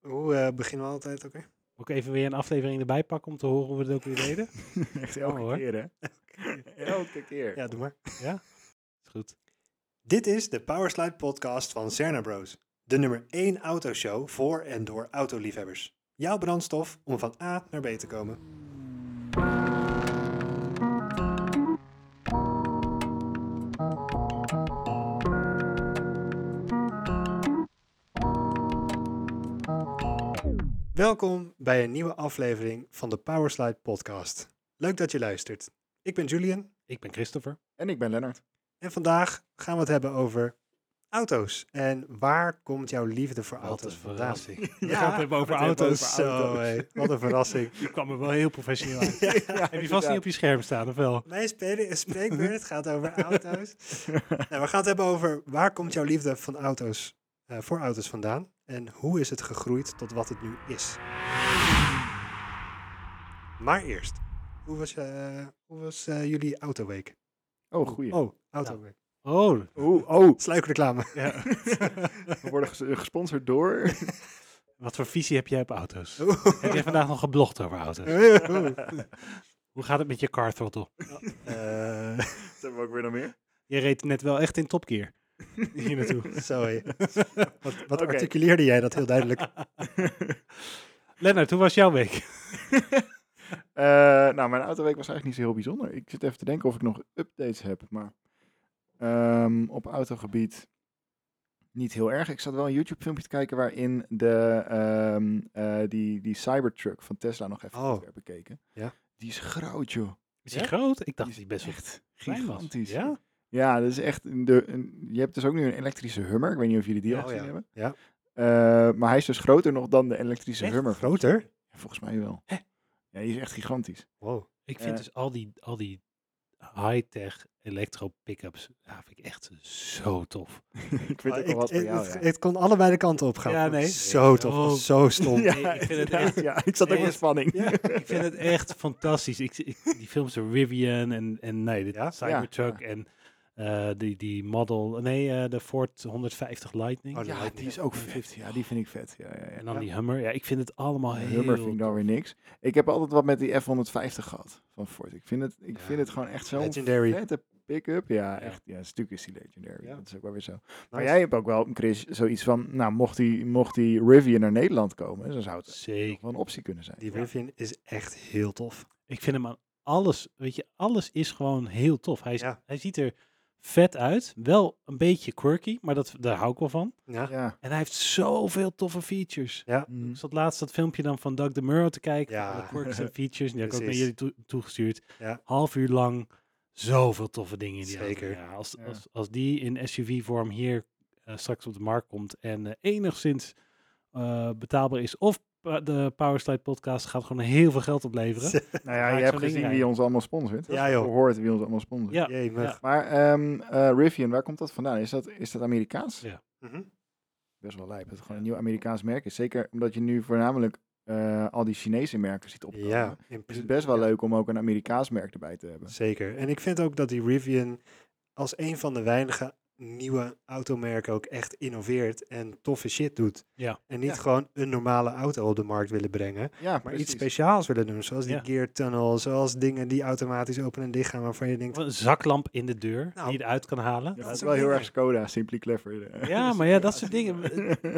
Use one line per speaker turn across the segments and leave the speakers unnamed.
Hoe eh, beginnen we altijd ook weer?
Ook even weer een aflevering erbij pakken om te horen hoe we het ook weer deden.
Echt
Oh,
elke
hoor.
keer, hè? elke keer.
Ja, doe maar.
Is goed.
Dit is de Powerslide podcast van Cerna Bros. De nummer 1 autoshow voor en door autoliefhebbers. Jouw brandstof om van A naar B te komen. Welkom bij een nieuwe aflevering van de Powerslide podcast. Leuk dat je luistert. Ik ben Julian
Ik ben Christopher.
En ik ben Lennart.
en vandaag gaan we het hebben over auto's. En waar komt jouw liefde voor
Wat
auto's
een
vandaan?
verrassing.
Ja,
we gaan het hebben over
we gaan het hebben
auto's.
over
Zo, hé, wat een verrassing.
Je kwam er wel heel professioneel uit. Heb je vast
inderdaad.
niet op je scherm staan, of wel?
Mijn spele- spreekbeurt gaat over auto's. Nou, we gaan het hebben over waar komt jouw liefde van auto's, eh, voor auto's vandaan? En hoe is het gegroeid tot wat het nu is? Maar eerst, hoe was, eh, hoe was eh, jullie autoweek?
Oh, goeie. Oh,
Oh, autoweek.
Oh,
oh.
Sluikreclame.
ja.
We worden ges- eh, gesponsord door...
wat voor visie heb jij op auto's?
Oh.
Heb jij vandaag nog geblogd over auto's? Hoe gaat het met je car throttle?
Eh,
Dat hebben we ook weer nog meer.
Je reed net wel echt in topkeer hier naartoe.
Sorry. Wat, wat
Oké.
articuleerde jij dat heel duidelijk?
Lennart, hoe was jouw week?
Eh, nou, mijn autoweek was eigenlijk niet zo heel bijzonder. Ik zit even te denken of ik nog updates heb, maar ehm, op autogebied niet heel erg. Ik zat wel een YouTube filmpje te kijken waarin de, ehm, eh, die, die Cybertruck van Tesla nog even
Oh.
goed werd bekeken.
Ja.
Die is groot, joh.
Is hij
Ja?
groot? Ik dacht dat
Die
hij best
is
wel
echt
klein was.
gigantisch.
Ja?
Ja, dat is echt. een- De, een- je hebt dus ook nu een elektrische Hummer. Ik weet niet of jullie die
Ja,
al gezien
ja.
hebben.
Ja.
Eh, maar hij is dus groter nog dan de elektrische
Echt?
Hummer.
Groter?
Ja, volgens mij wel.
Hè?
Ja, die is echt gigantisch.
Wow.
Ik vind
Eh.
dus al die, al die high-tech elektro-pickups, ja, vind ik echt zo tof.
ik weet
Maar
ook wel wat voor
het,
jou.
het,
ja.
het kon allebei de kanten op gaan.
Ja, nee.
Zo tof,
Oh.
zo stom.
Nee, ik vind het echt-
ja, ik zat ook
Nee,
in spanning.
Ja.
Ik vind het echt fantastisch. Ik, ik- die films de Rivian en, en nee, de
Ja?
Cybertruck en eh, die, die Model, nee, eh, de Ford 150 Lightning.
Oh, die
Ja,
lijkt
die
me-
is ook vet. Ja, die vind ik vet. Ja, ja, ja.
en dan die Hummer. Ja, ik vind het allemaal
De
heel...
Hummer vind ik dan weer niks. Ik heb altijd wat met die F-150 gehad van Ford. Ik vind het, ik
Ja.
vind het gewoon echt zo'n
Legendary.
vette pick-up. Ja, echt. Ja, natuurlijk is die legendary.
Ja.
Dat is ook wel weer zo. Maar
Nice.
jij hebt ook wel, Chris, zoiets van, nou, mocht die, mocht die Rivian naar Nederland komen, dan zou het
Zeker.
wel een optie kunnen zijn.
Die
Ja.
Rivian is echt heel tof.
Ik vind hem aan alles, weet je, alles is gewoon heel tof. Hij, is,
Ja.
hij ziet er vet uit. Wel een beetje quirky, maar dat, daar hou ik wel van.
Ja.
Ja.
En hij heeft zoveel toffe features.
Mm.
Ik zat laatst dat filmpje dan van Doug de Murrow te kijken.
Ja.
Ja. Alle quirks en features. En die heb ik ook naar
Precies.
jullie toe- toegestuurd.
Ja.
Half uur lang. Zoveel toffe dingen in die auto.
Zeker.
Ja, als,
Ja.
Als, als die in SUV-vorm hier eh, straks op de markt komt. En eh, enigszins eh, betaalbaar is. Of pa- de Powerslide podcast gaat gewoon heel veel geld opleveren.
Nou
Ga
ja,
ik
je
zo'n
hebt
ding
gezien wie
rijden.
ons allemaal sponsort.
Ja, joh.
Of Gehoord wie ons allemaal sponsort.
Ja.
Jee, mug.
Maar ehm, eh, Rivian, waar komt dat vandaan? Is dat, is dat Amerikaans?
Ja.
Mhm.
Best wel lijp. Dat het gewoon een nieuw Amerikaans merk is. Zeker omdat je nu voornamelijk eh, al die Chinese merken ziet opkomen.
Ja, in
Is het
prin-
best wel
ja,
leuk om ook een Amerikaans merk erbij te hebben.
Zeker. En ik vind ook dat die Rivian als een van de weinige nieuwe automerken ook echt innoveert en toffe shit doet.
Ja.
En niet
Ja.
gewoon een normale auto op de markt willen brengen.
Ja,
Maar
precies.
iets speciaals willen doen, zoals die
Ja.
gear tunnel, zoals dingen die automatisch open en dicht gaan, waarvan je denkt,
Een zaklamp in de deur
Nou.
die je eruit kan halen.
Ja,
dat
dat is
soort
wel heel
dingen.
erg Skoda, Simply Clever. eh.
Ja, maar ja, dat soort dingen.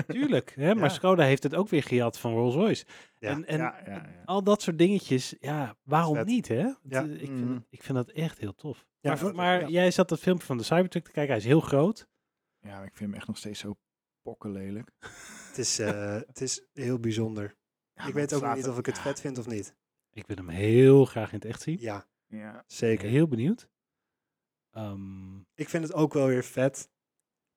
Tuurlijk. Hè? Maar
Ja.
Skoda heeft het ook weer gejat van Rolls-Royce.
Ja.
En, en
ja, ja, ja.
al dat soort dingetjes, ja, waarom
Vet.
niet, hè? Het,
Ja.
eh, ik, vind,
Mhm.
het- ik vind dat echt heel tof.
Ja,
maar
dat-
maar
ja.
jij zat dat filmpje van de Cybertruck te kijken, hij is heel groot.
Ja, maar ik vind hem echt nog steeds zo pokkenlelijk.
het is, eh, het is heel bijzonder. ik
Ja, maar
weet ook nog
slaat
niet
er-
of ik het
ja,
vet vind of niet.
Ik wil hem heel graag in het echt zien.
Ja,
Ja,
Ik
zeker.
ben heel benieuwd. Ehm,
Ik vind het ook wel weer vet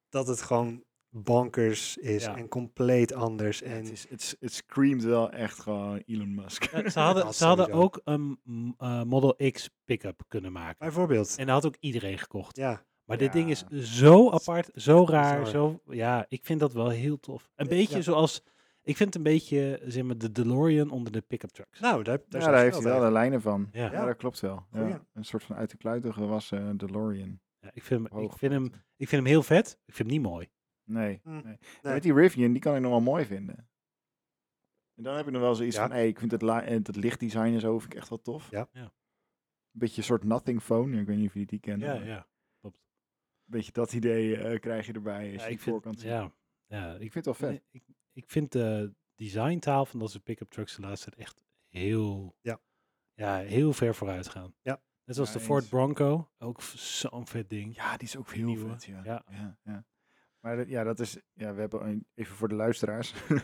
dat het gewoon bonkers is
Ja.
en compleet anders.
en
En
het, is, het, is- het screamt wel echt gewoon Elon Musk.
ja, eh, ze hadden,
Dat
ze hadden
sowieso.
ook een mm, eh, Model X pick-up kunnen maken.
bijvoorbeeld,
En dat had ook iedereen gekocht.
ja,
Maar dit ding is
Ja.
zo apart, zo raar,
bizar.
zo... Ja, ik vind dat wel heel tof. Een
Ja.
beetje zoals... Ik vind het een beetje, zeg maar, de DeLorean onder de pick-up trucks.
nou, daar,
Ja,
daar,
daar heeft hij wel de lijnen van.
Ja.
Ja,
Ja.
dat klopt wel. Ja.
Goeie.
Een soort van uit de kluiten gewassen eh, DeLorean.
Ja, ik, vind hem, ik, vind hem,
Hoogvlakte.
ik vind hem heel vet. Ik vind hem niet mooi.
Nee.
Mm,
nee.
nee.
Met die Rivian, die kan ik nog wel mooi vinden. En dan heb je nog wel zoiets
Ja.
van, hey, ik vind het, la- eh, dat lichtdesign en zo vind ik echt wel tof.
Ja.
Ja.
Beetje een soort nothing phone. Ik weet niet of jullie die kennen.
Ja,
maar
ja.
Een beetje dat idee eh, krijg je erbij als
Ja,
je die
vind-
voorkant ziet.
Ja, ja
Ik
ik,
vind het wel vet.
nee, ik, ik vind de designtaal van dat soort pick-up trucks de laatste tijd echt heel,
Ja.
Ja, heel ver vooruit gaan.
Ja.
Net zoals
Ja,
de Ford
eens.
Bronco, ook v- zo'n vet ding.
Ja, die is ook heel
nieuwe.
vet. Ja.
Ja.
Ja, ja. Maar dat- ja, dat is. Ja, we hebben een- even voor de luisteraars. we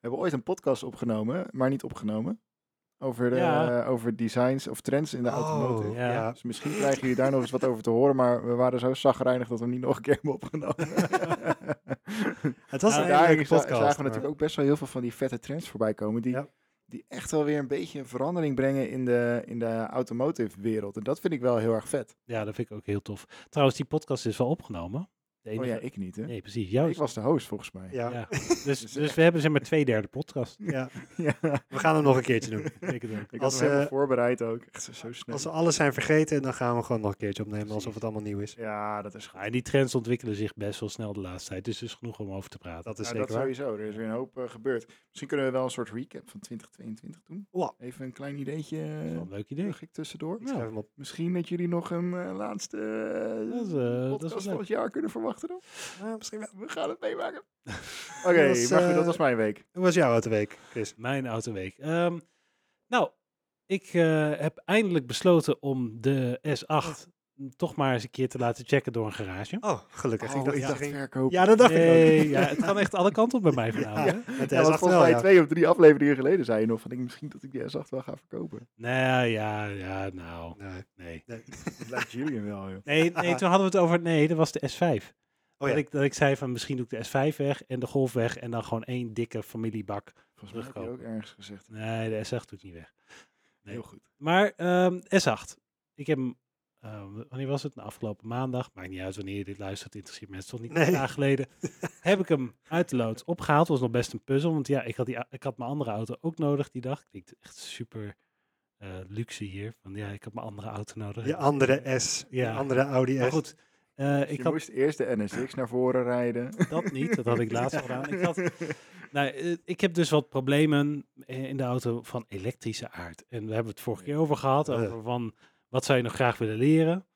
hebben ooit een podcast opgenomen, maar niet opgenomen. Over, de,
Ja.
eh, over designs of trends in de
Oh.
automotive.
Ja.
ja.
Dus misschien krijgen jullie daar nog eens wat over te horen, maar we waren zo zagrijnig dat we hem niet nog een keer hebben opgenomen.
Het was
Ja,
een hele
daar
leuke
za-
podcast.
zagen we
maar-
natuurlijk ook best wel heel veel van die vette trends voorbij komen, die,
Ja.
die echt wel weer een beetje een verandering brengen in de, in de automotive wereld. En dat vind ik wel heel erg vet.
Ja, dat vind ik ook heel tof. Trouwens, die podcast is wel opgenomen. De
Oh
enige-
ja, ik niet hè.
Nee, precies. Jou
Ik was de host volgens mij.
Ja.
Ja.
Ja.
Dus,
Dus,
dus we hebben zeg maar twee derde podcast.
Ja.
we gaan hem nog een keertje doen.
Ik het ook.
Ik
Als,
had hem helemaal
eh,
voorbereid ook. Echt zo- zo snel.
Als we alles zijn vergeten, dan gaan we gewoon nog een keertje opnemen alsof
Precies.
het allemaal nieuw is.
Ja, dat is goed.
Ah, en die trends ontwikkelen zich best wel snel de laatste tijd. Dus er is genoeg om over te praten.
Dat is
Ja,
zeker
dat
waar.
sowieso. Er is weer een hoop eh, gebeurd. Misschien kunnen we wel een soort recap van 2022 doen.
Wow. Nou.
Even een klein ideetje
Dat is wel
eh,
een leuk idee.
terug ik tussendoor.
Ik schrijf hem op.
Misschien dat jullie nog een eh, laatste eh,
Dat is, eh, dat is wel
podcast
leuk.
van het jaar kunnen verwachten dan.
Ah, misschien wel.
We gaan het meemaken. Oké,
Dat was,
maar goed, dat
eh,
was mijn week.
Hoe was jouw auto week, Chris?
Mijn autoweek. Ehm nou, ik eh, heb eindelijk besloten om de S8 toch maar eens een keer te laten checken door een garage.
Oh, gelukkig.
Oh,
ik dacht,
ik
ja,
dacht
ging...
verkoop.
ja, dat dacht ik
Nee,
ook.
ja, het kan echt alle kanten op bij mij
Ja,
vanavond.
met de
Ja, want
S8
volgens
wel,
mij
ja.
twee of drie afleveringen geleden zei je nog van ik misschien dat ik die S8 wel ga verkopen.
Nee, ja, ja, nou,
Nee,
nee.
nee.
Dat lijkt Julian wel, joh.
Nee, nee, toen hadden we het over, nee, dat was de S5.
Oh, ja.
dat, ik, dat ik zei van misschien doe ik de S5 weg en de Golf weg en dan gewoon één dikke familiebak.
Volgens mij heb je ook
Terugkopen.
ergens gezegd.
Nee, de S8 doet niet weg. Nee.
Heel goed.
Maar ehm, S8. Ik heb hem, ehm, wanneer was het? Nou, afgelopen maandag. Maakt niet uit wanneer je dit luistert. Interesseert mensen toch niet.
Nee.
Een jaar geleden heb ik hem uit de loods opgehaald. was nog best een puzzel. Want ja, ik had, die, a- ik had mijn andere auto ook nodig die dag. Klinkt echt super eh, luxe hier. Want ja, ik had mijn andere auto nodig.
Je andere S.
Ja.
Je andere Audi S.
Maar goed, eh,
Dus
ik
je
had
moest eerst de NSX naar voren rijden.
dat niet. Dat had ik laatst al gedaan. Ik, had, nou, eh, ik heb dus wat problemen eh, in de auto van elektrische aard. En we hebben het vorige keer over gehad.
Eh.
Over van wat zou je nog graag willen leren?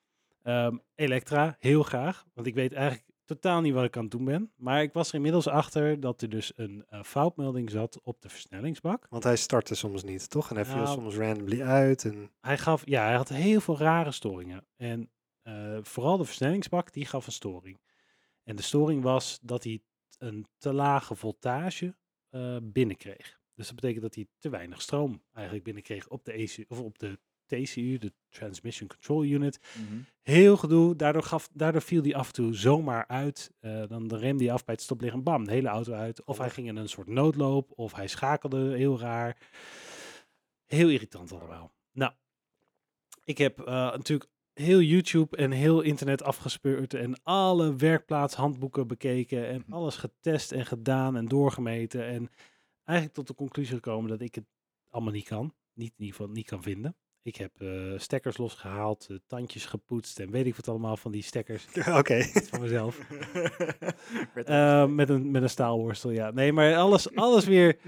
Ehm, Elektra, heel graag. Want ik weet eigenlijk totaal niet wat ik aan het doen ben. Maar ik was er inmiddels achter dat er dus een eh, foutmelding zat op de versnellingsbak.
Want hij startte soms niet, toch? En hij viel
Nou.
soms randomly uit. En...
hij gaf, ja, hij had heel veel rare storingen. En eh, vooral de versnellingsbak, die gaf een storing. En de storing was dat hij t- een te lage voltage eh binnenkreeg. Dus dat betekent dat hij te weinig stroom eigenlijk binnenkreeg op de, ECU, of op de TCU, de Transmission Control Unit. Heel gedoe, daardoor, gaf, daardoor viel hij af en toe zomaar uit. Eh, dan remde hij af bij het stoplicht bam, de hele auto uit. Of hij ging in een soort noodloop, of hij schakelde heel raar. Heel irritant allemaal. Nou, ik heb eh, natuurlijk heel YouTube en heel internet afgespeurd en alle werkplaatshandboeken bekeken en
Mhm.
alles getest en gedaan en doorgemeten en eigenlijk tot de conclusie gekomen dat ik het allemaal niet kan, niet in ieder geval niet kan vinden. Ik heb eh, stekkers losgehaald, eh, tandjes gepoetst en weet ik wat allemaal van die stekkers
Oké.
van mezelf.
Ik werd
Eh, met, een, met een staalworstel, ja. Nee, maar alles, alles weer,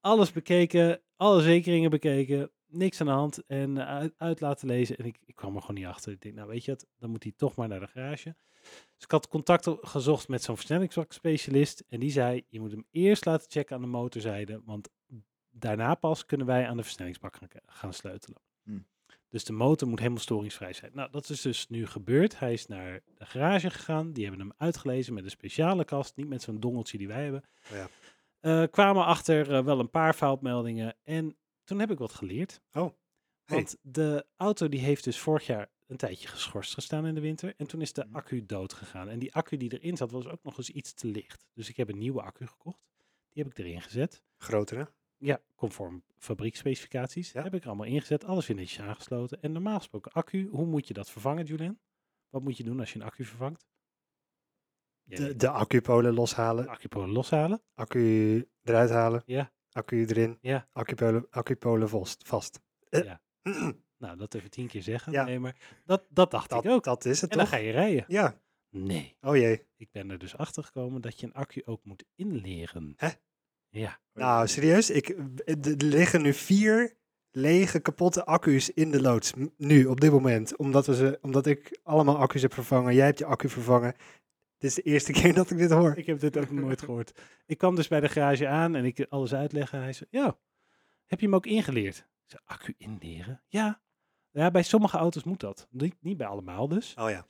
alles bekeken, alle zekeringen bekeken, niks aan de hand en eh, uit, uit laten lezen. En ik, ik kwam er gewoon niet achter. Ik denk, nou weet je het, dan moet hij toch maar naar de garage. Dus ik had contact o- gezocht met zo'n versnellingsbakspecialist en die zei, je moet hem eerst laten checken aan de motorzijde, want daarna pas kunnen wij aan de versnellingsbak gaan, gaan sleutelen.
Hmm.
Dus de motor moet helemaal storingsvrij zijn. Nou, dat is dus nu gebeurd. Hij is naar de garage gegaan. Die hebben hem uitgelezen met een speciale kast. Niet met zo'n dongeltje die wij hebben.
Oh ja.
Eh, kwamen achter eh, wel een paar foutmeldingen. En toen heb ik wat geleerd.
Oh, hey.
Want de auto die heeft dus vorig jaar een tijdje geschorst gestaan in de winter. En toen is de
Mhm.
Hm.
accu dood gegaan. En die accu die erin zat was ook nog eens iets te licht. Dus ik heb een nieuwe accu gekocht. Die heb ik erin gezet.
Grotere.
Ja, conform fabriekspecificaties.
Ja.
Heb ik er allemaal ingezet, alles weer netjes aangesloten. En normaal gesproken, accu, hoe moet je dat vervangen, Julian? Wat moet je doen als je een accu vervangt? Jij
De,
weet
de accupolen
het.
loshalen.
accupolen loshalen.
Accu eruit halen.
Ja.
Accu erin.
Ja.
Accupolen, accupolen vast. vast. Eh.
Ja. Nou, dat even tien keer zeggen.
Ja.
Nee, maar dat, dat dacht
Dat,
ik ook.
dat is het
en dan
toch?
ga je rijden.
Ja.
Nee.
Oh jee.
Ik ben er dus achter gekomen dat je een accu ook moet inleren.
Hè?
Ja.
Nou, serieus, ik, er liggen nu vier lege kapotte accu's in de loods. M- Nu, op dit moment. Omdat, we ze, omdat ik allemaal accu's heb vervangen. Jij hebt je accu vervangen. Dit is de eerste keer dat ik dit hoor.
Ik heb dit ook nog nooit gehoord. Ik kwam dus bij de garage aan en ik alles uitleggen. En hij zei, ja, heb je hem ook ingeleerd? Ik zei, accu inleren? Ja. Ja, bij sommige auto's moet dat. Niet, niet bij allemaal dus.
Oh ja.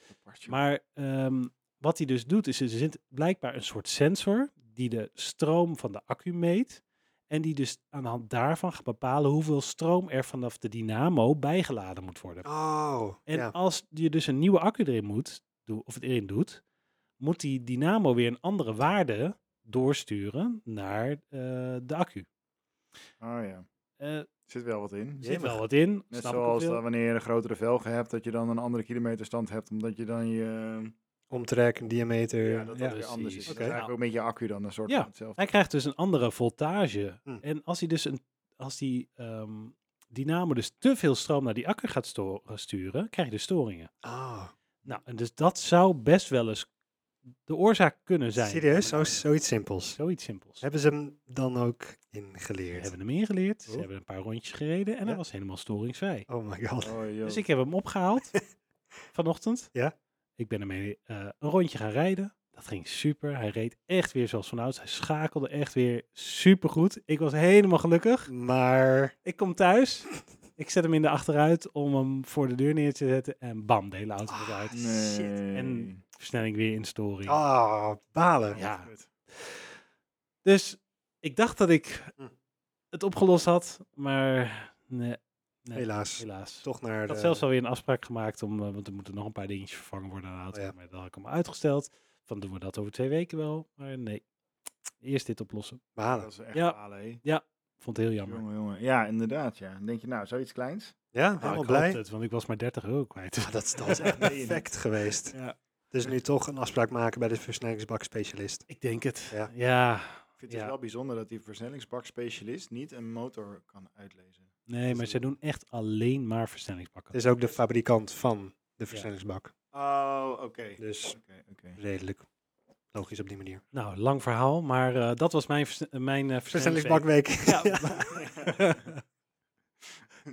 Maar ehm, wat hij dus doet, is er zit blijkbaar een soort sensor die de stroom van de accu meet. En die dus aan de hand daarvan gaat bepalen hoeveel stroom er vanaf de dynamo bijgeladen moet worden.
Oh,
En
ja.
als je dus een nieuwe accu erin moet, doe- of het erin doet, moet die dynamo weer een andere waarde doorsturen naar eh, de accu.
Oh ja.
Eh, er
Zit wel wat in.
zit wel
Jemig.
wat in.
Net
snap ik ook
zoals
wel.
dat wanneer je een grotere velgen hebt, dat je dan een andere kilometerstand hebt, omdat je dan je...
omtrek, een diameter.
ja, dat dat weer
precies.
anders is.
Oké.
Dat is eigenlijk ook met je accu dan een soort
Ja.
van hetzelfde.
Hij krijgt dus een andere voltage.
Hm.
En als hij dus een, als die ehm, dynamo dus te veel stroom naar die accu gaat sto- sturen, krijg je dus storingen.
Oh,
Nou, en dus dat zou best wel eens de oorzaak kunnen zijn.
serieus? Zo, zoiets simpels.
Zoiets simpels.
Hebben ze hem dan ook
Ze
ingeleerd?
hebben hem ingeleerd, ze
Oh.
hebben een paar rondjes gereden en hij
Ja.
was helemaal storingsvrij.
Oh my god.
Oh, joh.
Dus ik heb hem opgehaald vanochtend.
Ja.
Ik ben ermee eh, een rondje gaan rijden. Dat ging super. Hij reed echt weer zoals vanouds. Hij schakelde echt weer super goed. Ik was helemaal gelukkig.
Maar,
Ik kom thuis. Ik zet hem in de achteruit om hem voor de deur neer te zetten. En bam, de hele auto
Ah,
gaat uit.
Nee.
Shit.
En- Versnelling weer in storing.
ah, balen.
Ja.
Kut.
Dus ik dacht dat ik
Hm.
het opgelost had. Maar nee, nee,
Helaas.
helaas.
Toch naar
Ik
de...
had zelfs alweer een afspraak gemaakt om, eh, want er moeten nog een paar dingetjes vervangen worden aan de auto.
Oh ja.
Maar dat had ik hem uitgesteld. Van doen we dat over twee weken wel. Maar nee, eerst dit oplossen.
balen.
Dat is echt
Ja.
balen, hé.
Vond het heel jammer.
Jongen, jongen. Ja, inderdaad, ja. Dan denk je, nou, zoiets kleins?
Ja,
Maar
helemaal
ik hoopte
blij.
Het, want ik was maar 30 euro kwijt.
Ah, dat, is- dat is echt perfect geweest.
Ja,
Dus nu toch een afspraak maken bij de versnellingsbakspecialist.
ik denk het. Ja.
Ja.
Ik vind het dus
Ja.
wel bijzonder dat die versnellingsbakspecialist niet een motor kan uitlezen.
Nee, maar
is
ze
een-
doen echt alleen maar versnellingsbakken.
Het is ook de fabrikant van de versnellingsbak.
Oh, oké.
Dus
Oké, oké.
redelijk logisch op die manier.
Nou, lang verhaal, maar eh, dat was mijn, vers- eh, mijn eh, versnellingsbak.
Versnellingsbakweek.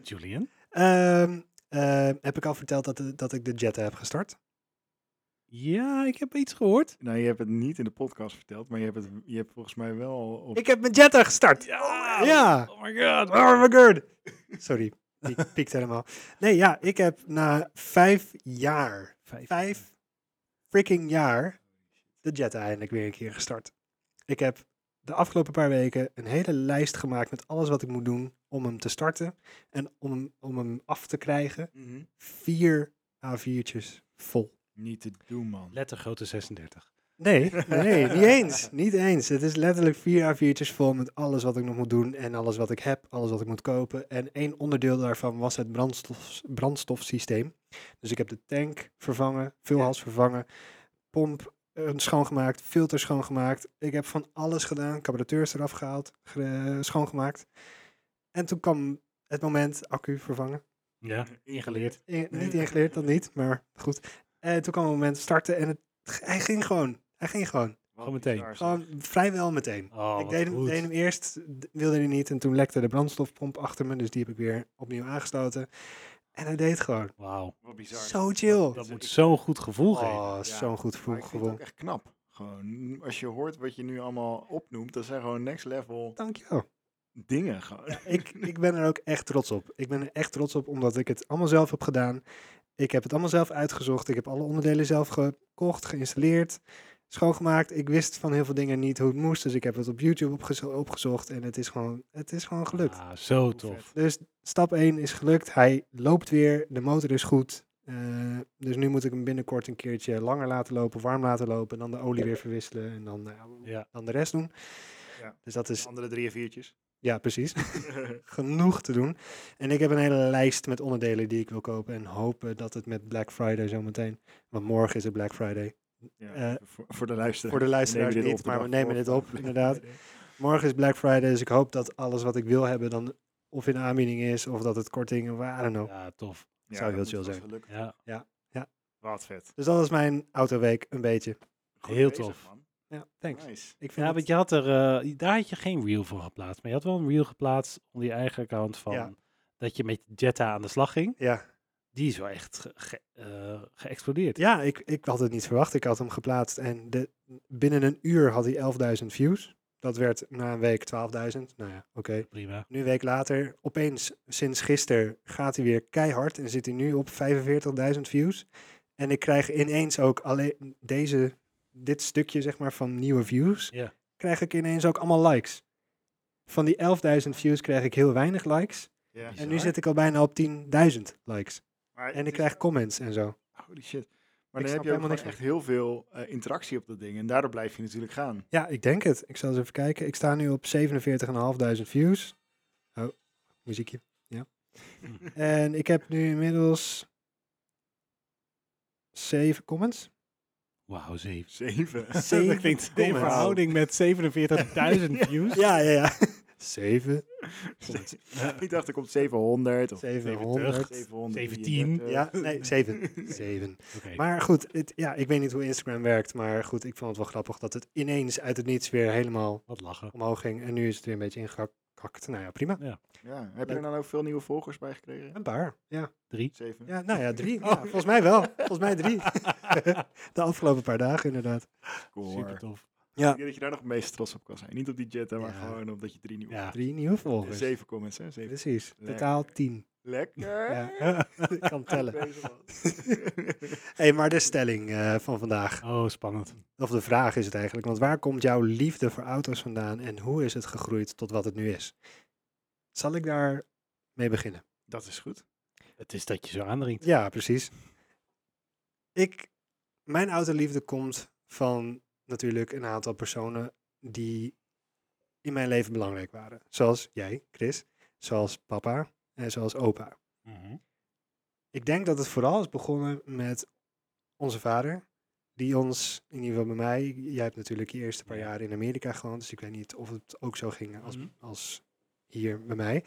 Julian?
Ehm, ehm, heb ik al verteld dat, de- dat ik de Jetta heb gestart?
Ja, ik heb iets gehoord.
Nou, je hebt het niet in de podcast verteld, maar je hebt het je hebt volgens mij wel op...
Ik heb mijn Jetta gestart! Ja!
Oh my god.
Oh my god! Sorry, piek, piekt helemaal. Nee, ja, ik heb na vijf jaar, vijf freaking jaar, de Jetta eindelijk weer een keer gestart. Ik heb de afgelopen paar weken een hele lijst gemaakt met alles wat ik moet doen om hem te starten en om hem, om hem af te krijgen.
Mhm.
Vier A4'tjes vol.
Niet te doen, man.
Lettergrootte 36.
Nee, nee, niet eens. Niet eens. Het is letterlijk vier A4'tjes vol met alles wat ik nog moet doen en alles wat ik heb, alles wat ik moet kopen. En één onderdeel daarvan was het brandstof, brandstofsysteem. Dus ik heb de tank vervangen, vulhals vervangen, pomp eh, schoongemaakt, filter schoongemaakt. Ik heb van alles gedaan, carburateurs eraf gehaald, ge- schoongemaakt. En toen kwam het moment accu vervangen.
Ja, ingeleerd.
In-
Nee.
Niet ingeleerd, dat niet, maar goed. En toen kwam het moment starten en het, hij ging gewoon. Hij ging gewoon.
Wat
Gewoon meteen.
bizar, zeg.
Gewoon vrijwel meteen.
Oh,
ik
wat
deed hem,
goed.
deed hem eerst, d- wilde hij niet. En toen lekte de brandstofpomp achter me, dus die heb ik weer opnieuw aangesloten. En hij deed het gewoon.
Wauw.
Wat bizar.
Zo chill.
Dat moet
ik-
zo'n goed gevoel geven.
Oh,
Ja,
zo'n goed
maar
gevoel.
ik vind het ook
gevoel.
echt knap. Gewoon, als je hoort wat je nu allemaal opnoemt, dat zijn gewoon next level
Dank je wel.
dingen. Gewoon.
Ik, ik ben er ook echt trots op. Ik ben er echt trots op, omdat ik het allemaal zelf heb gedaan. Ik heb het allemaal zelf uitgezocht. Ik heb alle onderdelen zelf gekocht, geïnstalleerd, schoongemaakt. Ik wist van heel veel dingen niet hoe het moest, dus ik heb het op YouTube opgezo- opgezocht. En het is gewoon, het is gewoon gelukt.
Ah, zo
Hoe
tof.
vet.
Dus stap 1 is gelukt. Hij loopt weer. De motor is goed. Eh, dus nu moet ik hem binnenkort een keertje langer laten lopen, warm laten lopen. En dan de olie weer verwisselen. En dan, nou ja,
Ja.
dan de rest doen.
Ja.
Dus dat is,
Andere drie en viertjes.
ja, precies. Genoeg te doen. En ik heb een hele lijst met onderdelen die ik wil kopen. En hopen dat het met Black Friday zometeen. Want morgen is het Black Friday.
Ja,
Eh,
even voor, voor de luisteraar.
Voor de luisteraars niet, maar we nemen dit op, inderdaad. Morgen is Black Friday. Dus ik hoop dat alles wat ik wil hebben dan of in aanbieding is. Of dat het korting. I don't know.
Ja, tof.
Zou heel chill zijn.
Ja,
Wat vet.
Dus dat is mijn autoweek een beetje.
Heel
bezig,
tof.
man.
Ja, thanks.
Nice.
Ik vind
Ja,
het-
want je had er, eh, daar had je geen reel voor geplaatst. Maar je had wel een reel geplaatst onder je eigen account van
Ja.
dat je met Jetta aan de slag ging.
ja.
Die is wel echt ge- ge- eh, geëxplodeerd.
ja ik, ik had het niet verwacht. Ik had hem geplaatst en de, binnen een uur had hij 11.000 views. Dat werd na een week 12.000. Nou ja, oké.
Prima.
Nu een week later, opeens sinds gisteren gaat hij weer keihard en zit hij nu op 45.000 views. En ik krijg ineens ook alleen deze, dit stukje zeg maar van nieuwe views,
Ja.
krijg ik ineens ook allemaal likes. Van die 11.000 views krijg ik heel weinig likes.
Ja,
En nu zit ik al bijna op 10.000 likes. En ik krijg comments en zo.
Holy shit. Maar
Ik
dan
snap
heb je ook
helemaal
gewoon
niks
echt heel veel eh, interactie op dat ding. En daardoor blijf je natuurlijk gaan.
Ja, ik denk het. Ik zal eens even kijken. Ik sta nu op 47.500 views. Oh, muziekje. Ja. en ik heb nu inmiddels zeven comments.
Wauw, zeven.
Zeven.
Zeven
dat klinkt in
comments.
verhouding met 47.000 views.
Ja, ja, ja. Zeven.
ik dacht, er komt 700. Of
700.
700.
17.
33.
Ja, nee, zeven. Zeven.
Oké.
Maar goed, het, ja, ik weet niet hoe Instagram werkt, maar goed, ik vond het wel grappig dat het ineens uit het niets weer helemaal
Wat lachen.
omhoog ging. En nu is het weer een beetje ingekakt. Nou ja, prima.
Ja. Heb je er dan ook veel nieuwe volgers bij gekregen?
Een paar, ja.
Drie.
Zeven.
Ja, nou ja, drie. Ja, volgens mij wel. Volgens mij drie. De afgelopen paar dagen inderdaad.
Super tof.
Ik denk dat je daar nog het meest trots op kan zijn. Niet op die Jetta, maar
Ja.
gewoon omdat je drie nieuwe...
Ja.
Drie nieuwe volgers.
Zeven comments, hè? Zeven.
Precies.
Lekker.
Totaal tien.
Lekker!
Ja, ik kan tellen.
Bezig, man.
hey, maar de stelling eh, van vandaag,
Oh, spannend.
of de vraag is het eigenlijk, want waar komt jouw liefde voor auto's vandaan en hoe is het gegroeid tot wat het nu is? Zal ik daar mee beginnen?
dat is goed.
Het is dat je zo aandringt.
Ja, precies. Ik, mijn autoliefde komt van natuurlijk een aantal personen die in mijn leven belangrijk waren. Zoals jij, Chris, zoals papa en zoals opa.
Mhm.
Ik denk dat het vooral is begonnen met onze vader. Die ons, in ieder geval bij mij, jij hebt natuurlijk je eerste paar
Ja.
jaar in Amerika gewoond. Dus ik weet niet of het ook zo ging als,
Mhm.
als hier bij mij.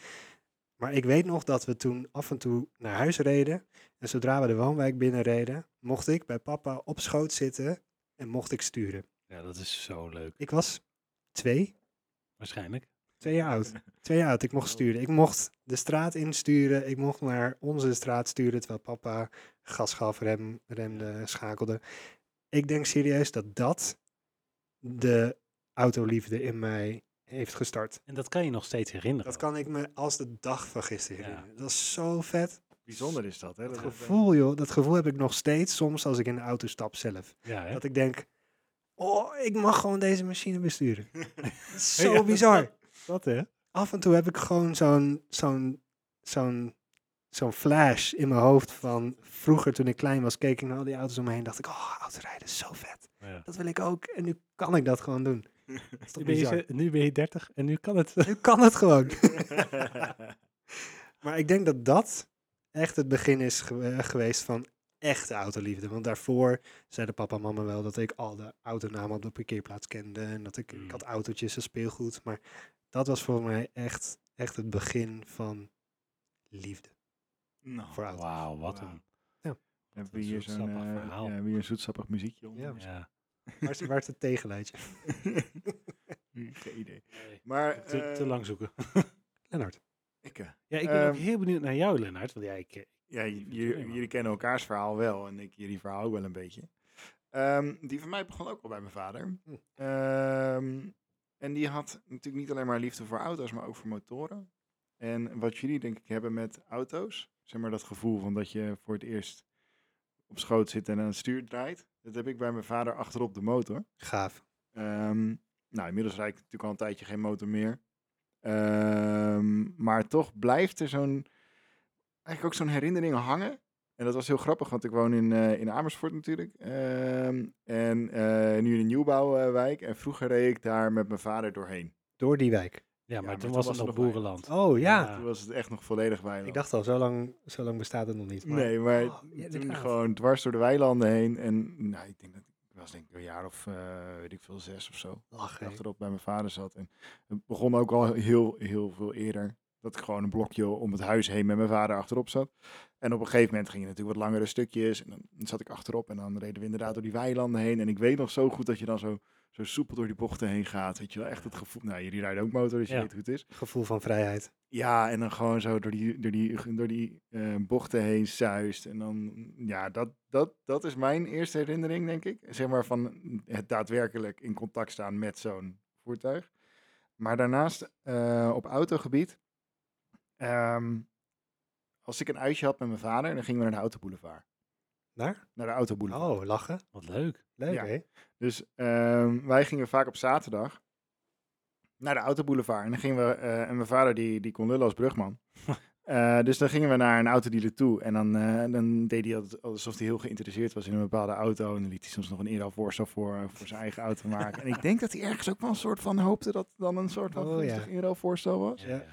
Maar ik weet nog dat we toen af en toe naar huis reden. En zodra we de woonwijk binnenreden, mocht ik bij papa op schoot zitten en mocht ik sturen.
Ja, dat is zo leuk.
Ik was twee,
Waarschijnlijk.
Twee jaar oud. Twee jaar oud. Ik mocht sturen. Ik mocht de straat insturen. Ik mocht naar onze straat sturen. Terwijl papa gas gaf, rem, remde, schakelde. Ik denk serieus dat dat de autoliefde in mij heeft gestart.
En dat kan je nog steeds herinneren.
Dat kan ik me als de dag van gisteren
Ja.
herinneren. Dat is zo vet.
Bijzonder is dat, hè?
Dat
Dat
gevoel, joh. Dat gevoel heb ik nog steeds soms als ik in de auto stap zelf.
Ja, hè?
Dat ik denk, oh, ik mag gewoon deze machine besturen. zo
Ja, dat-
bizar.
dat hè?
af en toe heb ik gewoon zo'n zo'n zo'n zo'n flash in mijn hoofd van vroeger toen ik klein was, keek ik naar al die auto's om me heen, dacht ik, oh, autorijden is zo vet.
Ja.
Dat wil ik ook. En nu kan ik dat gewoon doen. Dat is toch
Nu ben, je,
bizar?
ze- nu ben je 30 en nu kan het.
Nu kan het gewoon. Maar ik denk dat dat echt het begin is ge- eh, geweest van echte autoliefde. Want daarvoor zeiden papa en mama wel dat ik al de autonamen op de parkeerplaats kende. En dat ik, ik
Mm.
had autootjes en speelgoed. Maar dat was voor mij echt, echt het begin van liefde
Nou,
voor auto.
Wauw, wat
Wauw.
een.
hebben we
een
hier zo'n
zoetsappig
eh,
verhaal.
ja, hebben we hier een zoetsappig muziekje onder?
Ja.
Ja.
Waar is, waar is het tegenleidje?
Geen idee. Maar,
Te, te
eh,
lang zoeken.
Lennart.
Ik, eh,
Ja, ik ben ook
Ehm,
heel benieuwd naar jou, Lennart. Want ja, ik, eh,
ja, j-
vind het
jullie,
prima.
jullie kennen elkaars verhaal wel en ik jullie verhaal ook wel een beetje. Ehm, die van mij begon ook al bij mijn vader.
Hm.
Ehm, en die had natuurlijk niet alleen maar liefde voor auto's, maar ook voor motoren. En wat jullie denk ik hebben met auto's, zeg maar dat gevoel van dat je voor het eerst op schoot zit en aan het stuur draait. Dat heb ik bij mijn vader achterop de motor.
Gaaf.
Ehm, nou, inmiddels rijd ik natuurlijk al een tijdje geen motor meer. Ehm, maar toch blijft er zo'n, eigenlijk ook zo'n herinnering hangen. En dat was heel grappig, want ik woon in, eh, in Amersfoort natuurlijk. Ehm, en eh, nu in een nieuwbouwwijk. En vroeger reed ik daar met mijn vader doorheen.
Door die wijk.
ja, maar
maar
toen
toen
was
was
het
er
nog
nog weinig.
boerenland.
Oh ja.
Toen was het echt nog volledig weiland.
Ik dacht al, zo lang, zo lang bestaat het nog niet. Maar
nee, maar
Oh, ja,
toen
inderdaad.
gewoon dwars door de weilanden heen. En nou, ik denk dat ik was denk ik een jaar of, eh, weet ik veel, zes of zo.
lachen. hè.
achterop bij mijn vader zat. En het begon ook al heel, heel veel eerder. Dat ik gewoon een blokje om het huis heen met mijn vader achterop zat. En op een gegeven moment gingen natuurlijk wat langere stukjes. En dan zat ik achterop en dan reden we inderdaad door die weilanden heen. En ik weet nog zo goed dat je dan zo, zo soepel door die bochten heen gaat. Weet je wel, echt het gevoel. Nou, jullie rijden ook motor, dus je
Ja.
weet hoe het is.
Gevoel van vrijheid.
Ja, en dan gewoon zo door die, door die, door die eh, bochten heen zuist. En dan, mm, ja, dat, dat, dat is mijn eerste herinnering, denk ik. Zeg maar van het daadwerkelijk in contact staan met zo'n voertuig. Maar daarnaast, eh, op autogebied, ehm, als ik een uitje had met mijn vader, dan gingen we naar de autoboulevard.
Naar?
Naar de autoboulevard.
Oh, lachen.
Wat leuk.
Leuk,
Ja.
hè?
Dus ehm, wij gingen vaak op zaterdag naar de autoboulevard. En dan gingen we, eh, en mijn vader die, die kon lullen als brugman. Eh, dus dan gingen we naar een autodealer toe. En dan, eh, dan deed hij altijd alsof hij heel geïnteresseerd was in een bepaalde auto. En dan liet hij soms nog een Eral Vorsa voor, eh, voor zijn eigen auto maken. en ik denk dat hij ergens ook wel een soort van hoopte dat het dan een soort van
Oh, ja.
gunstig Eral Voorstel was.
Ja.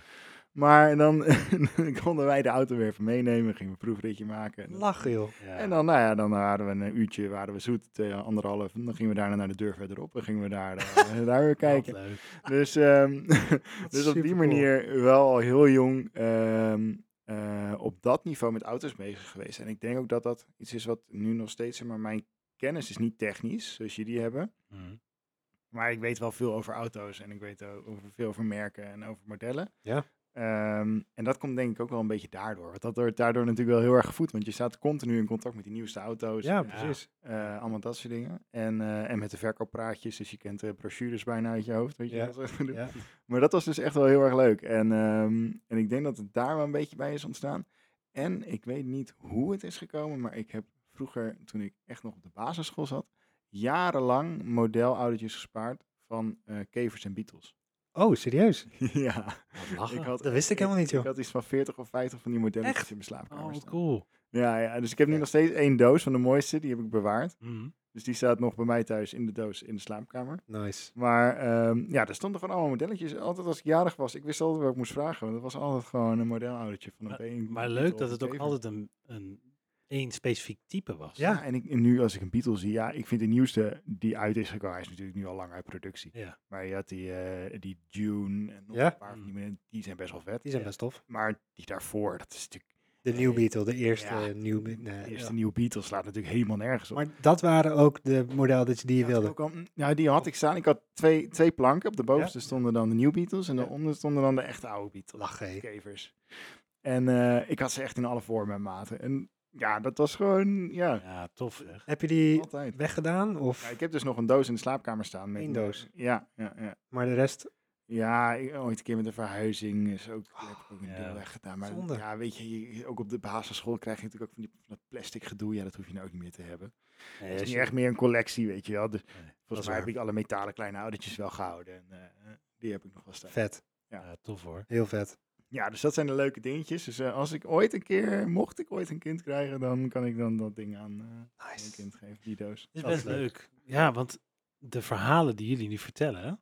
Maar dan konden wij de auto weer even meenemen. Gingen we een proefritje maken. En dan-
Lachen, joh.
Ja.
en dan, nou ja, dan waren we een uurtje, waren we zoet, twee, anderhalf. En dan gingen we daarna naar de deur verderop en gingen we daar, eh, daar weer kijken.
Wat leuk.
Dus, ehm,
Dat is
dus op die
supercool.
manier wel al heel jong ehm, eh, op dat niveau met auto's bezig geweest. En ik denk ook dat dat iets is wat nu nog steeds, zeg maar mijn kennis is niet technisch, zoals jullie hebben.
Mhm.
Maar ik weet wel veel over auto's en ik weet ook over veel over merken en over modellen.
Ja.
Ehm, en dat komt denk ik ook wel een beetje daardoor. Want dat wordt daardoor natuurlijk wel heel erg gevoed. Want je staat continu in contact met die nieuwste auto's.
Ja,
en
precies.
eh, allemaal dat soort dingen. En, eh, en met de verkooppraatjes, dus je kent de brochures bijna uit je hoofd. Weet je
Ja,
wel, zo te doen.
ja.
Maar dat was dus echt wel heel erg leuk. En, ehm, en ik denk dat het daar wel een beetje bij is ontstaan. En ik weet niet hoe het is gekomen, maar ik heb vroeger, toen ik echt nog op de basisschool zat, jarenlang modelautootjes gespaard van eh, kevers en beetles.
Oh, serieus?
ja,
Wat lachen. Oh,
ik had,
Dat wist ik helemaal niet,
ik
joh.
had iets van 40 of 50 van die modellen
Echt?
in mijn slaapkamer
Oh, wat
staan.
cool.
Ja, ja, dus ik heb nu
Ja.
nog steeds één doos van de mooiste, die heb ik bewaard.
Mhm.
Dus die staat nog bij mij thuis in de doos in de slaapkamer.
Nice.
Maar ehm, ja, er stonden gewoon allemaal modelletjes. Altijd als ik jarig was, ik wist altijd waar ik moest vragen. Want dat was altijd gewoon een modelautootje van een Beetle
Maar
of
leuk
een
dat het ook
Kever.
altijd een, een, één specifiek type was.
Ja, en, ik, en nu als ik een Beatle zie, ja, ik vind de nieuwste die uit is gekomen. Hij is natuurlijk nu al lang uit productie.
Ja.
Maar je had die, eh, die Dune en nog
Ja. Mm.
een paar van die meer, Die zijn best wel vet.
Die zijn
Ja.
best tof.
Maar die daarvoor, dat is natuurlijk...
De New Beetle, de eerste
Ja.
eh, New Beetle.
De
nee,
eerste
ja.
nieuwe Beatle slaat natuurlijk helemaal nergens op.
Maar dat waren ook de modelletjes die je
Ja,
wilde. Oh.
ook al- nou, die had ik staan. Ik had twee, twee planken. Op de bovenste stonden dan de nieuwe Beatles en
Ja.
daaronder stonden dan de echte oude Beatles.
Lachen, hé.
Kevers. En eh, ik had ze echt in alle vormen en maten. En ja, dat was gewoon, ja,
Ja, tof. Zeg.
Heb je die
altijd.
weggedaan? Of...
Ja, ik heb dus nog een doos in de slaapkamer staan. met-
Eén doos?
Ja, ja, ja.
Maar de rest,
Ja, ik- ooit een keer met een verhuizing is ook, heb ik ook een
Oh, Ja.
deel weggedaan. Maar
Zonde.
ja, weet je, je- ook op de basisschool krijg je natuurlijk ook van, die, van dat plastic gedoe. Ja, dat hoef je nou ook niet meer te hebben.
Nee,
Het
als
is
je-
niet echt meer een collectie, weet je wel. Dus
nee, dat is
volgens mij heb
waar.
ik alle metalen kleine oudertjes wel gehouden. En eh, die heb ik nog wel staan.
vet.
ja.
Ja, tof hoor.
Heel vet.
Ja, dus dat zijn de leuke dingetjes. Dus eh, als ik ooit een keer, mocht ik ooit een kind krijgen, dan kan ik dan dat ding aan eh, mijn
Nice.
kind geven, die doos.
Dat is
Dat
best
is leuk.
leuk. Ja, want de verhalen die jullie nu vertellen,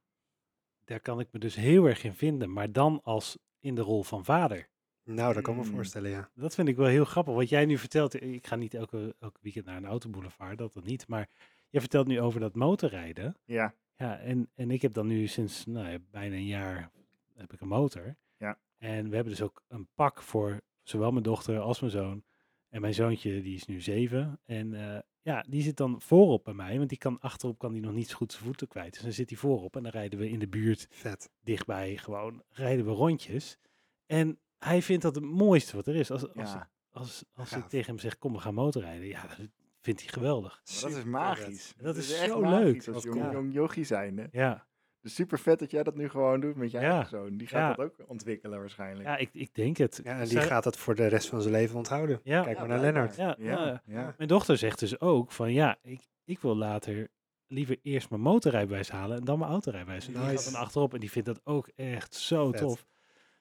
daar kan ik me dus heel erg in vinden. Maar dan als in de rol van vader.
Nou, dat kan ik me
Mm.
voorstellen, ja.
Dat vind ik wel heel grappig. Wat jij nu vertelt, eh, ik ga niet elke, elke weekend naar een autoboulevard, dat dan niet. Maar je vertelt nu over dat motorrijden.
Ja,
Ja, en, en ik heb dan nu sinds nou, ja, bijna een jaar heb ik een motor.
Ja.
En we hebben dus ook een pak voor zowel mijn dochter als mijn zoon. En mijn zoontje, die is nu zeven. En eh, ja, die zit dan voorop bij mij, want die kan achterop kan die nog niet zo goed zijn voeten kwijt. Dus dan zit hij voorop en dan rijden we in de buurt
Vet.
dichtbij gewoon, rijden we rondjes. En hij vindt dat het mooiste wat er is. Als, als,
ja.
als, als ik
Gaaf.
tegen hem zeg, kom we gaan motorrijden. Ja, dat vindt hij geweldig.
Maar dat is magisch.
Dat is zo leuk.
Als
Wat
jong,
cool.
jong jochie zijnde.
Ja,
Dus super vet dat jij dat nu gewoon doet met je
Ja.
eigen zoon. Die gaat
Ja.
dat ook ontwikkelen waarschijnlijk.
ja ik, ik denk het.
Ja, en die
Zou-
gaat dat voor de rest van zijn leven onthouden.
Ja.
Kijk maar naar Lennart.
Ja,
ja,
nou,
ja.
Mijn dochter zegt dus ook van ja, ik, ik wil later liever eerst mijn motorrijbewijs halen en dan mijn autorijbewijs. En Die gaat
Nice.
dan achterop en die vindt dat ook echt zo
Vet.
tof.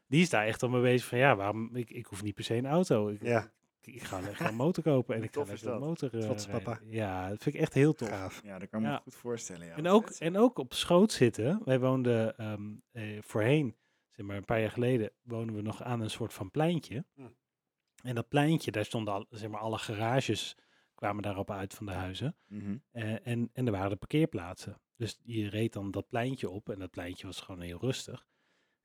Die is daar echt al mee bezig van ja, waarom, ik, ik hoef niet per se een auto. Ik,
Ja,
ik, ik ga lekker een motor kopen en
Hoe
ik ga
tof is
lekker een
dat?
motor eh,
Trots papa.
rijden. Ja, dat vind ik echt heel tof.
gaaf.
Ja, dat kan ik me
Ja.
goed voorstellen. Ja.
En
Wat
ook,
vet.
en ook op schoot zitten. Wij woonden ehm, eh, voorheen, zeg maar een paar jaar geleden, woonden we nog aan een soort van pleintje.
Hm.
En dat pleintje, daar stonden al, zeg maar, alle garages kwamen daarop uit van de huizen.
Mhm.
Eh, en, en er waren de parkeerplaatsen. Dus je reed dan dat pleintje op en dat pleintje was gewoon heel rustig.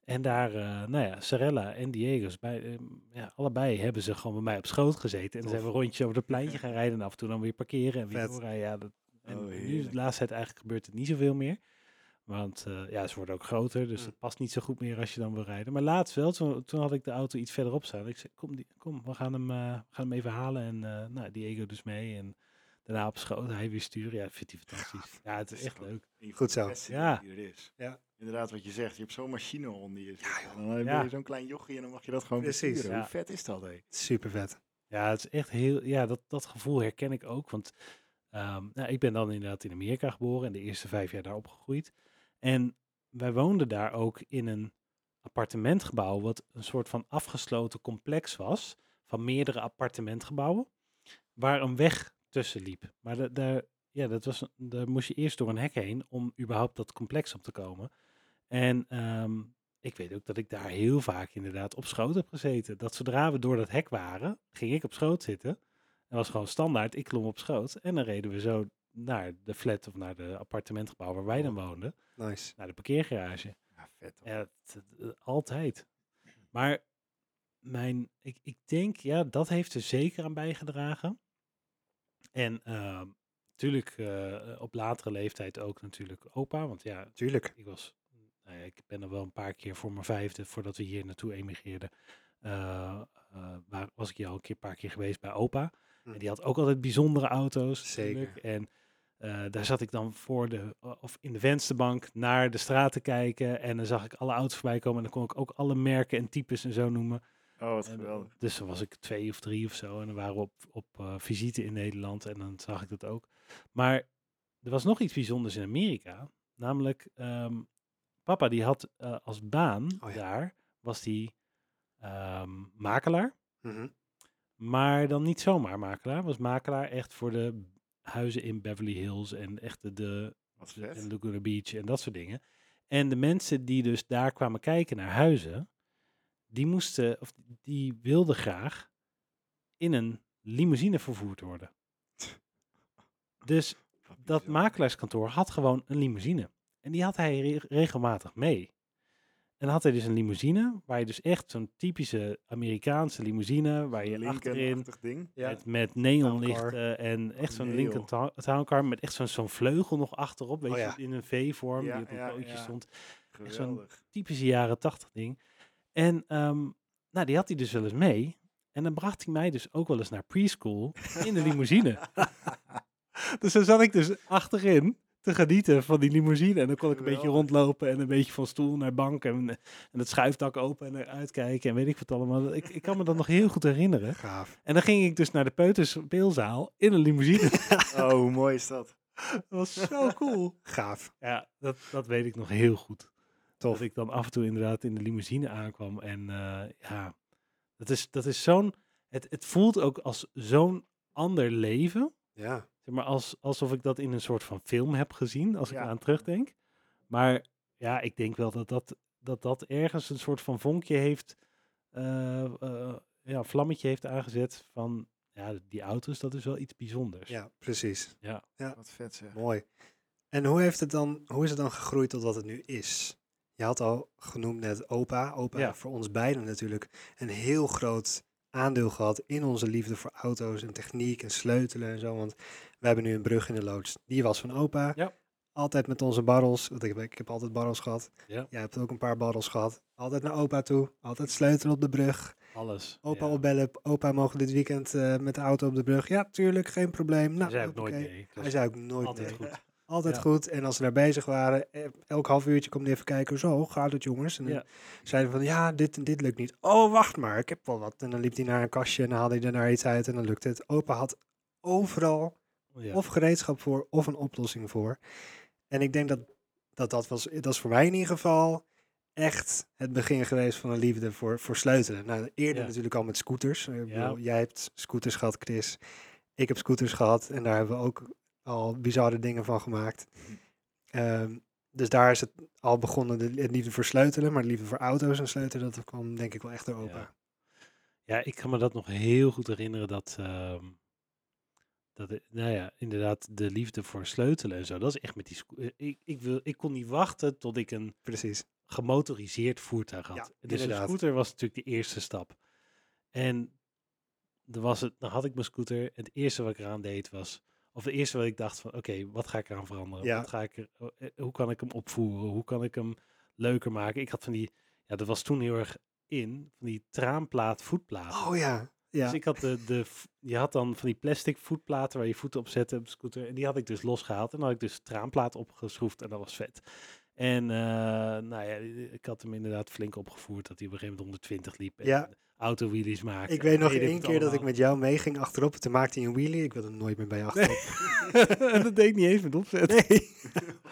En daar, eh, nou ja, Sarella en Diego's, bij, eh, ja, allebei hebben ze gewoon bij mij op schoot gezeten. En dan
Tof.
zijn we rondjes over het pleintje gaan rijden en af en toe dan weer parkeren en weer
Vet.
doorrijden. Ja, dat, En
Oh,
nu de
heerlijk.
laatste tijd eigenlijk gebeurt het niet zoveel meer. Want eh, ja, ze worden ook groter, dus
Hm.
het past niet zo goed meer als je dan wil rijden. Maar laatst wel, toen, toen had ik de auto iets verderop staan. Ik zei, kom, die, kom we gaan hem, eh, we gaan hem even halen. En eh, nou, Diego dus mee. En daarna op schoot, hij weer sturen. Ja, vindt hij fantastisch. Ja, het is
is
echt
gewoon-
leuk.
Een van
Goed
de
zo.
beste
Ja.
Die er is.
Ja.
Inderdaad, wat je zegt. Je hebt zo'n machine onder je. zitten.
joh.
En dan heb
Ja.
je zo'n klein jochie en dan mag je dat gewoon
Precies,
besturen.
ja.
Hoe vet is dat, hé?
Super vet.
Ja, het is echt heel, ja, dat, dat gevoel herken ik ook. Want ehm, nou, ik ben dan inderdaad in Amerika geboren en de eerste vijf jaar daar opgegroeid. En wij woonden daar ook in een appartementgebouw, wat een soort van afgesloten complex was van meerdere appartementgebouwen, waar een weg tussen liep. Maar da- daar, ja, dat was, een- daar moest je eerst door een hek heen om überhaupt dat complex op te komen. En ehm, ik weet ook dat ik daar heel vaak inderdaad op schoot heb gezeten. Dat zodra we door dat hek waren, ging ik op schoot zitten. Dat was gewoon standaard, ik klom op schoot. En dan reden we zo naar de flat of naar de appartementgebouw waar wij dan woonden.
Nice.
Naar de parkeergarage.
Ja, vet. hoor.
Ja, het- het- eh, altijd. Maar mijn, ik, ik denk, ja, dat heeft er zeker aan bijgedragen. En ehm natuurlijk op latere leeftijd ook natuurlijk opa. Want ja,
Tuurlijk.
ik was, nou ja, ik ben er wel een paar keer voor mijn vijfde, voordat we hier naartoe emigreerden, eh, eh, waar, was ik hier al een keer, een paar keer geweest bij opa. En
Hm.
die had ook altijd bijzondere auto's. natuurlijk.
Zeker.
En eh, daar zat ik dan voor de, of in de vensterbank naar de straat te kijken. En dan zag ik alle auto's voorbij komen. En dan kon ik ook alle merken en types en zo noemen.
Oh, wat
En,
geweldig.
dus dan was ik twee of drie of zo. En dan waren we op, op eh, visite in Nederland. En dan zag ik dat ook. Maar er was nog iets bijzonders in Amerika. Namelijk, ehm, papa die had eh, als baan
Oh ja.
daar, was die ehm, makelaar.
Mhm.
Maar dan niet zomaar makelaar. Was makelaar echt voor de huizen in Beverly Hills en echt de, de
Wat
en
vet.
Laguna Beach en dat soort dingen. En de mensen die dus daar kwamen kijken naar huizen, die moesten, of die wilden graag in een limousine vervoerd worden. Dus
Wat
dat
bizar.
makelaarskantoor had gewoon een limousine. En die had hij re- regelmatig mee. En dan had hij dus een limousine, waar je dus echt zo'n typische Amerikaanse limousine, waar je achterin
Lincoln-achtig ding.
Ja.
met, met
Town
neonlichten en echt zo'n
nee,
Lincoln
joh.
Town Town Car met echt zo'n zo'n vleugel nog achterop, weet
Oh,
je,
ja.
in een V-vorm
Ja,
die op een
ja,
pootje
ja.
stond. zo'n-
Geweldig.
Typische jaren tachtig ding. En ehm, nou, die had hij dus wel eens mee. En dan bracht hij mij dus ook wel eens naar preschool in de limousine. dus dan zat ik dus achterin te genieten van die limousine. En dan kon ik een beetje
Geweldig.
rondlopen en een beetje van stoel naar bank. En, en het schuifdak open en eruit kijken en weet ik wat allemaal. Ik, ik kan me dat nog heel goed herinneren.
Gaaf.
En dan ging ik dus naar de peuterspeelzaal in een limousine.
Oh, hoe mooi is dat?
dat was zo cool.
Gaaf.
Ja, dat, dat weet ik nog heel goed.
Tof.
Dat ik dan af en toe inderdaad in de limousine aankwam. En eh, ja, dat is, dat is zo'n... Het, het voelt ook als zo'n ander leven.
Ja.
Zeg maar als, alsof ik dat in een soort van film heb gezien, als ik
Ja.
eraan terugdenk. Maar ja, ik denk wel dat dat, dat, dat ergens een soort van vonkje heeft, eh, eh, ja, vlammetje heeft aangezet van, ja, die auto's, dat is wel iets bijzonders.
Ja, precies.
Wat vet zeg.
Mooi. En hoe, heeft het dan, hoe is het dan gegroeid tot wat het nu is? Je had al genoemd net opa. Opa
Ja.
voor ons beiden natuurlijk een heel groot aandeel gehad in onze liefde voor auto's en techniek en sleutelen en zo. Want we hebben nu een brug in de loods. Die was van opa.
Ja.
Altijd met onze barrels. Want ik heb, ik heb altijd barrels gehad.
Ja.
Jij hebt ook een paar barrels gehad. Altijd naar opa toe. Altijd sleutelen op de brug.
Alles.
Opa
ja.
opbellen. Opa, mogen we dit weekend eh, met de auto op de brug? Ja, tuurlijk, geen probleem. Nou,
Hij zei ook nooit
hoppakee.
nee. Dat
Hij
is
zei ook nooit nee.
altijd goed.
Altijd
Ja.
goed. En als ze daar bezig waren, eh, elk half uurtje kwam hij even kijken. Zo, gaat het jongens? En dan
Ja.
zeiden we van, ja, dit en dit lukt niet. Oh, wacht maar, ik heb wel wat. En dan liep hij naar een kastje en dan haalde hij daarna iets uit en dan lukte het. Opa had overal
Ja.
of gereedschap voor of een oplossing voor. En ik denk dat dat, dat was, dat is voor mij in ieder geval echt het begin geweest van een liefde voor, voor sleutelen. Nou, eerder
Ja.
natuurlijk al met scooters. Ik
Ja.
bedoel, jij hebt scooters gehad, Chris. Ik heb scooters gehad en daar hebben we ook al bizarre dingen van gemaakt. Ehm, dus daar is het al begonnen, de, het liefde voor sleutelen, maar de liefde voor auto's en sleutelen, dat kwam denk ik wel echt door opa.
Ja. Ja, ik kan me dat nog heel goed herinneren dat, ehm, dat het- nou ja, inderdaad, de liefde voor sleutelen en zo, dat is echt met die... sco- eh, Ik, ik, wil, ik kon niet wachten tot ik een
Precies.
gemotoriseerd voertuig had.
Ja,
dus een
inderdaad.
scooter was natuurlijk de eerste stap. En dan, was het, dan had ik mijn scooter. en Het eerste wat ik eraan deed was Of de eerste wat ik dacht van, oké, wat ga ik eraan veranderen?
Ja.
Wat ga ik er, eh, hoe kan ik hem opvoeren? Hoe kan ik hem leuker maken? Ik had van die, ja, dat was toen heel erg in, van die traanplaat voetplaten.
Oh ja. Ja.
Dus ik had de, de, v- je had dan van die plastic voetplaten waar je voeten op zette op de scooter. En die had ik dus losgehaald. En dan had ik dus traanplaat opgeschroefd en dat was vet. En eh, nou ja, ik had hem inderdaad flink opgevoerd dat hij op een gegeven moment 120 liep. En
Ja.
autowheelies maakte.
Ik weet nog
Weet ik
één
het
keer dat ik
allemaal.
met jou mee ging achterop. en Toen maakte hij een wheelie. Ik wilde nooit meer bij je achterop.
dat deed ik niet eens met opzet.
Nee.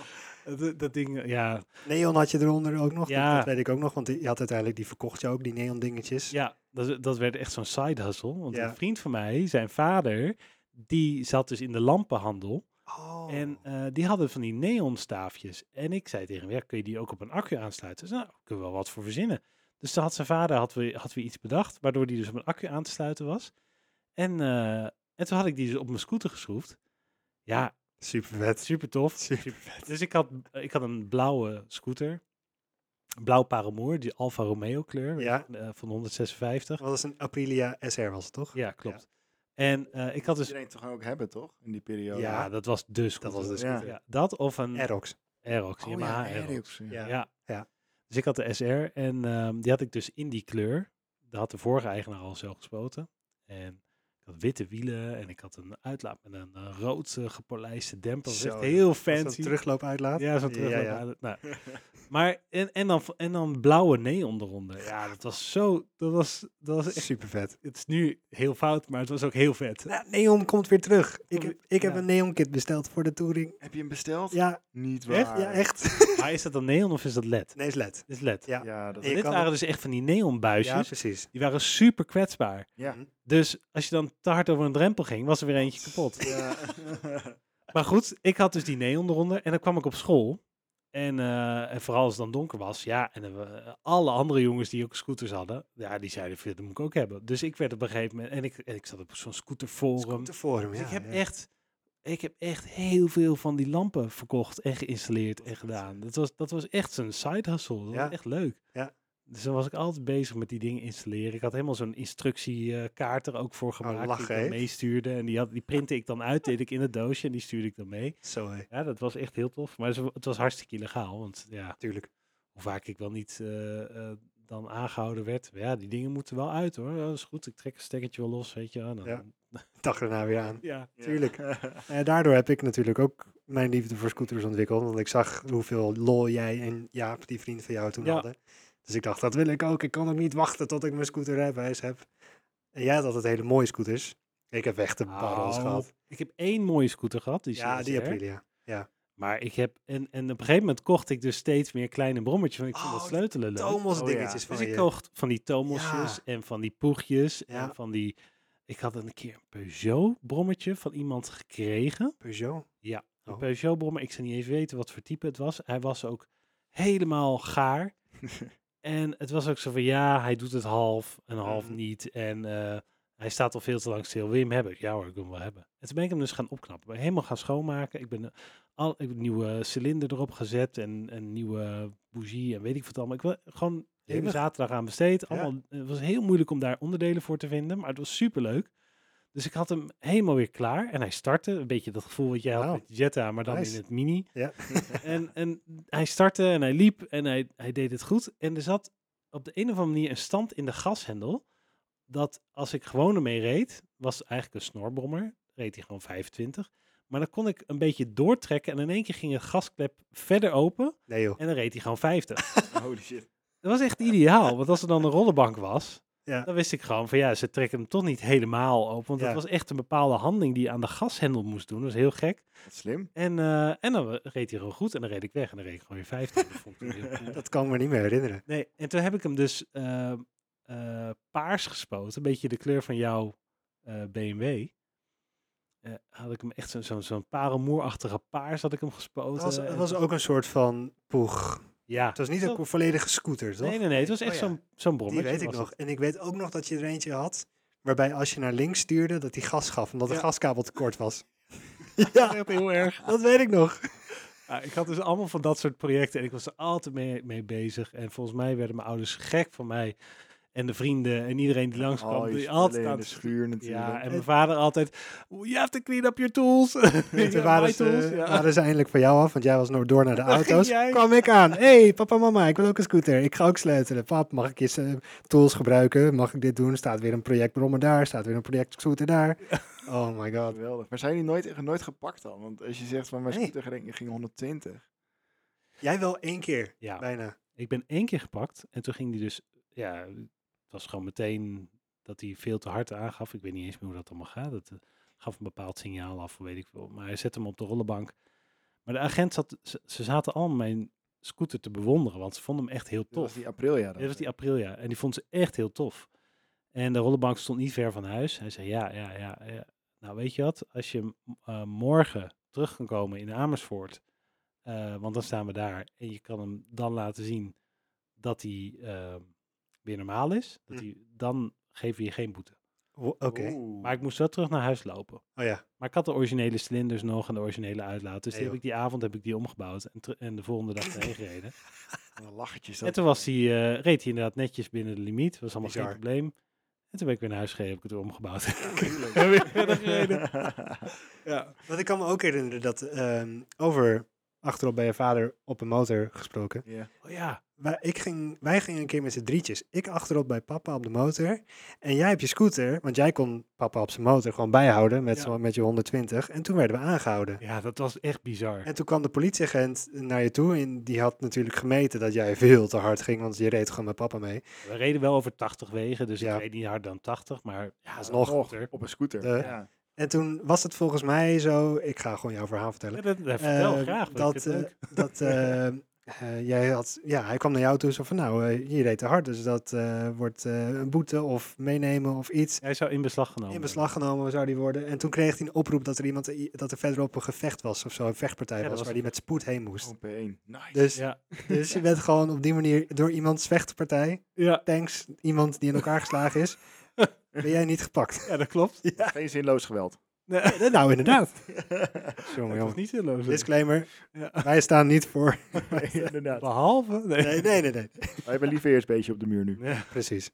Dat, dat ding, ja.
Neon had je eronder ook nog.
Ja.
Dat weet ik ook nog. Want die- je had uiteindelijk, die verkocht je ook, die neon dingetjes.
ja dat, dat werd echt zo'n side hustle. Want
Ja.
een vriend van mij, zijn vader, die zat dus in de lampenhandel.
Oh.
En eh, die hadden van die neonstaafjes. En ik zei tegen hem, ja, kun je die ook op een accu aansluiten? Dus nou, kunnen we wel wat voor verzinnen. Dus toen had zijn vader had we, had we iets bedacht, waardoor die dus op een accu aan te sluiten was. En, eh, en toen had ik die dus op mijn scooter geschroefd. Ja,
Super vet.
super tof.
Super
Dus ik had, ik had een blauwe scooter. Een Blauw Paramoor, die Alfa Romeo kleur
Ja.
eh, van 156.
Wat is een Aprilia SR was het toch?
Ja, klopt. En eh, ik had dus...
Iedereen toch ook hebben, toch? In die periode.
Ja, dat was de scooter.
was de
scooter.
Ja, dat of een
Aerox.
Aerox,
Oh,
Yamaha
ja,
Aerox.
Aerox, ja.
Ja.
Ja.
Ja.
Dus ik had de SR en ehm, die had ik dus in die kleur. Daar had de vorige eigenaar al zo gespoten. En ik had witte wielen en ik had een uitlaat met een eh, rood eh, gepolijste demper. Dat was
Zo,
echt heel
Was
fancy.
dat een terugloop uitlaat.
Ja, zo'n terug.
ja.
Nou, maar en, en, dan, en dan blauwe neon eronder. Ja, dat was zo. Dat was, dat was echt.
Super vet.
Het is nu heel fout, maar het was ook heel vet.
Nou, neon komt weer terug. Ik
Oh,
heb, ik heb
ja.
een neon kit besteld voor de touring.
Heb je hem besteld?
Ja,
Niet waar.
echt? Ja, echt.
Maar is dat dan neon of is dat LED?
Nee, is LED.
Dit is LED.
Ja.
Ja, dat
Je
Dit
kan
waren
het-
dus echt van die neonbuisjes.
Ja, precies.
Die waren super kwetsbaar.
Ja.
Dus als je dan te hard over een drempel ging, was er weer eentje kapot.
Ja.
Maar goed, ik had dus die neon eronder en dan kwam ik op school. En, eh, en vooral als het dan donker was, ja, en dan we- alle andere jongens die ook scooters hadden, ja, die zeiden, "Vind, dat moet ik ook hebben. Dus ik werd op een gegeven moment, en ik, en ik zat op zo'n scooterforum.
Scooter Forum,
dus
ja,
ik, heb
ja.
echt, ik heb echt heel veel van die lampen verkocht en geïnstalleerd en gedaan. Dat was, dat was echt zo'n side hustle, dat
Ja.
was echt leuk.
Ja.
Dus dan was ik altijd bezig met die dingen installeren. Ik had helemaal zo'n instructiekaart er ook voor gemaakt die
lachen,
ik dan
Oh, hè?
meestuurde. En die, had, die printte ik dan uit, deed ik in het doosje en die stuurde ik dan mee.
Zo, hè.
Ja, dat was echt heel tof. Maar ze- het was hartstikke illegaal. Want ja,
Tuurlijk.
hoe vaak ik wel niet eh, eh, dan aangehouden werd. Maar ja, die dingen moeten wel uit hoor. Ja, dat is goed. Ik trek een stekkertje wel los, weet je. wel. En dan-
Ja. Dag erna weer aan.
ja.
Tuurlijk. Eh, daardoor heb ik natuurlijk ook mijn liefde voor scooters ontwikkeld. Want ik zag hoeveel lol jij en Jaap, die vriend van jou, toen
Ja.
hadden. Dus ik dacht, dat wil ik ook. Ik kan ook niet wachten tot ik mijn scooterrijbewijs heb. En jij had altijd hele mooie scooters. Ik heb echt de barrels
Oh,
gehad.
Ik heb één mooie scooter gehad. Die
Ja, die
CSR.
Aprilia.
Maar ik heb... En, en op een gegeven moment kocht ik dus steeds meer kleine brommetjes. Want ik vond
Oh,
dat
die
sleutelen leuk.
Tomos
Oh,
dingetjes
Dus
van
ik
je.
kocht van die Tomosjes en van die Poegjes
Ja.
en van die... Ik had een keer een Peugeot brommetje van iemand gekregen.
Peugeot.
Een
Oh.
Peugeot brommer. Ik zou niet eens weten wat voor type het was. Hij was ook helemaal gaar. en het was ook zo van ja, hij doet het half en half
Mhm.
niet. En eh, hij staat al veel te lang stil. Wil je hem hebben? Ja hoor, ik wil hem wel hebben. En toen ben ik hem dus gaan opknappen. Ben helemaal gaan schoonmaken. Ik ben eh, al ik heb een nieuwe cilinder erop gezet en een nieuwe bougie en weet ik wat allemaal. Ik wil gewoon de hele
Jemig.
zaterdag aan besteed.
Ja.
Allemaal, Het was heel moeilijk om daar onderdelen voor te vinden, maar het was super leuk. Dus ik had hem helemaal weer klaar en hij startte. Een beetje dat gevoel wat jij had
Wauw.
met de Jetta, maar dan
Nice.
in het mini.
Ja.
en, en hij startte en hij liep en hij, hij deed het goed. En er zat op de een of andere manier een stand in de gashendel. Dat als ik gewoon ermee reed, was eigenlijk een snorbrommer. Reed hij gewoon 25. Maar dan kon ik een beetje doortrekken en in één keer ging het gasklep verder open
Nee joh.
en dan reed hij gewoon 50.
Holy shit.
Dat was echt ideaal, want als er dan een rollenbank was,
Ja.
dan wist ik gewoon van ja, ze trekken hem toch niet helemaal open. Want
Ja.
het was echt een bepaalde handing die je aan de gashendel moest doen. Dat was heel gek.
Wat slim.
En, eh, en dan reed hij gewoon goed en dan reed ik weg en dan reed ik gewoon weer 50. Dat vond ik toen heel cool.
Dat kan ik me niet meer herinneren.
Nee, en toen heb ik hem dus eh, eh, paars gespoten. Een beetje de kleur van jouw eh, BMW. Eh, had ik hem echt zo'n zo, zo'n parelmoerachtige paars had ik hem gespoten.
Het was, het
En
was
toen-
ook een soort van poeg.
Ja.
Het was niet een volledige scooter, toch?
Nee, nee, nee. Het was
Oh
echt
ja.
zo'n zo'n brommetje.
Die weet ik
was
nog. En ik weet ook nog dat je er eentje had. Waarbij als je naar links stuurde, dat die gas gaf. Omdat de
Ja.
gaskabel te kort was.
het.
ja,
Echt heel erg.
dat weet ik nog.
Ja, ik had dus allemaal van dat soort projecten en ik was er altijd mee, mee bezig. En volgens mij werden mijn ouders gek van mij. En de vrienden en iedereen die langskwam.
Al oh, je
die
spullen
altijd
in
aan
de
het-
schuur natuurlijk.
Ja, en mijn vader altijd, you have to clean up your tools. Weet je,
Toen
my
waren
tools,
ze,
ja.
waren ze eindelijk van jou af, want jij was nog door naar de
ging
auto's.
jij.
kwam ik aan. hey, papa, mama, ik wil ook een scooter. Ik ga ook sleutelen. Pap, mag ik eens eh, tools gebruiken? Mag ik dit doen? Staat weer een project brommer daar. Staat weer een project scooter daar. Oh my god.
Geweldig. Maar zijn die nooit, nooit gepakt dan? Want als je zegt van mijn
Nee.
scooter ging, ging 120.
Jij wel één keer,
Ja.
bijna.
Ik ben één keer gepakt en toen ging die dus, ja, het was gewoon meteen dat hij veel te hard aangaf. Ik weet niet eens meer hoe dat allemaal gaat. Het eh, gaf een bepaald signaal af, weet ik veel. Maar hij zette hem op de rollenbank. Maar de agent zat, ze, ze zaten allemaal mijn scooter te bewonderen, want ze vonden hem echt heel
Dat was
tof.
die Aprilia dan.
Dat was die Aprilia en die vond ze echt heel tof. En de rollenbank stond niet ver van huis. Hij zei, ja, ja, ja, ja. Nou, weet je wat? Als je m- eh, morgen terug kan komen in Amersfoort, eh, want dan staan we daar en je kan hem dan laten zien dat hij eh, weer normaal is, dat
Hm.
hij, dan geven we je geen boete.
Wo- Oké.
Oeh.
Maar ik moest wel terug naar huis lopen.
Oh ja.
Maar ik had de originele cilinders nog en de originele uitlaat. Dus
Nee,
die
joh.
heb ik die avond heb ik die omgebouwd en, ter- en de volgende dag erheen gereden.
Wat een lachertje is
En
dat.
toen was hij, eh, reed hij inderdaad netjes binnen de limiet. Was allemaal geen
Bizar.
probleem. En toen ben ik weer naar huis gereden, heb ik het weer omgebouwd.
Tuurlijk.
En weer verder gereden.
ja. Want ik kan me ook herinneren dat ehm, over achterop bij je vader op een motor gesproken.
Ja.
Oh ja,
Wij, ik ging, wij gingen een keer met z'n drietjes. Ik achterop bij papa op de motor. En jij op je scooter. Want jij kon papa op zijn motor gewoon bijhouden met,
Ja.
zo- met je 120. En toen werden we aangehouden.
ja, dat was echt bizar.
En toen kwam de politieagent naar je toe. En die had natuurlijk gemeten dat jij veel te hard ging. Want je reed gewoon met papa mee.
We reden wel over 80 wegen, dus
Ja.
ik reed niet harder dan 80, maar ja,
is
dat
nog-
mocht er.
Op een scooter.
Eh,
ja.
En toen was het volgens mij zo. Ik ga gewoon jouw verhaal vertellen.
Ja, dat, dat vertel
Eh,
graag. Dat,
Dat,
ik vind het
eh, dat eh, eh, jij had, ja, hij kwam naar jou toe zo van, nou, eh, je reed te hard, dus dat eh, wordt eh, een boete of meenemen of iets.
leuk. Hij zou in beslag genomen
In beslag genomen zou die worden. En toen kreeg hij een oproep dat er iemand, dat er verderop een gevecht was of zo, een vechtpartij
Ja,
was,
dat was Oh
waar hij met spoed heen moest.
Op één. Nice.
Dus,
worden.
dus je bent gewoon op die manier door iemands vechtpartij,
Ja, ja.
tanks, iemand die in elkaar geslagen is, ben jij niet gepakt.
ja, dat klopt.
Geen zinloos geweld.
Nee,
nou, inderdaad.
dat
Jongen,
was
jongen.
niet zinloos.
Disclaimer,
Ja.
wij staan niet voor.
Inderdaad.
Behalve... Nee.
Nee, nee, nee, nee.
Wij hebben liever eerst beestje op de muur nu.
Ja.
Precies.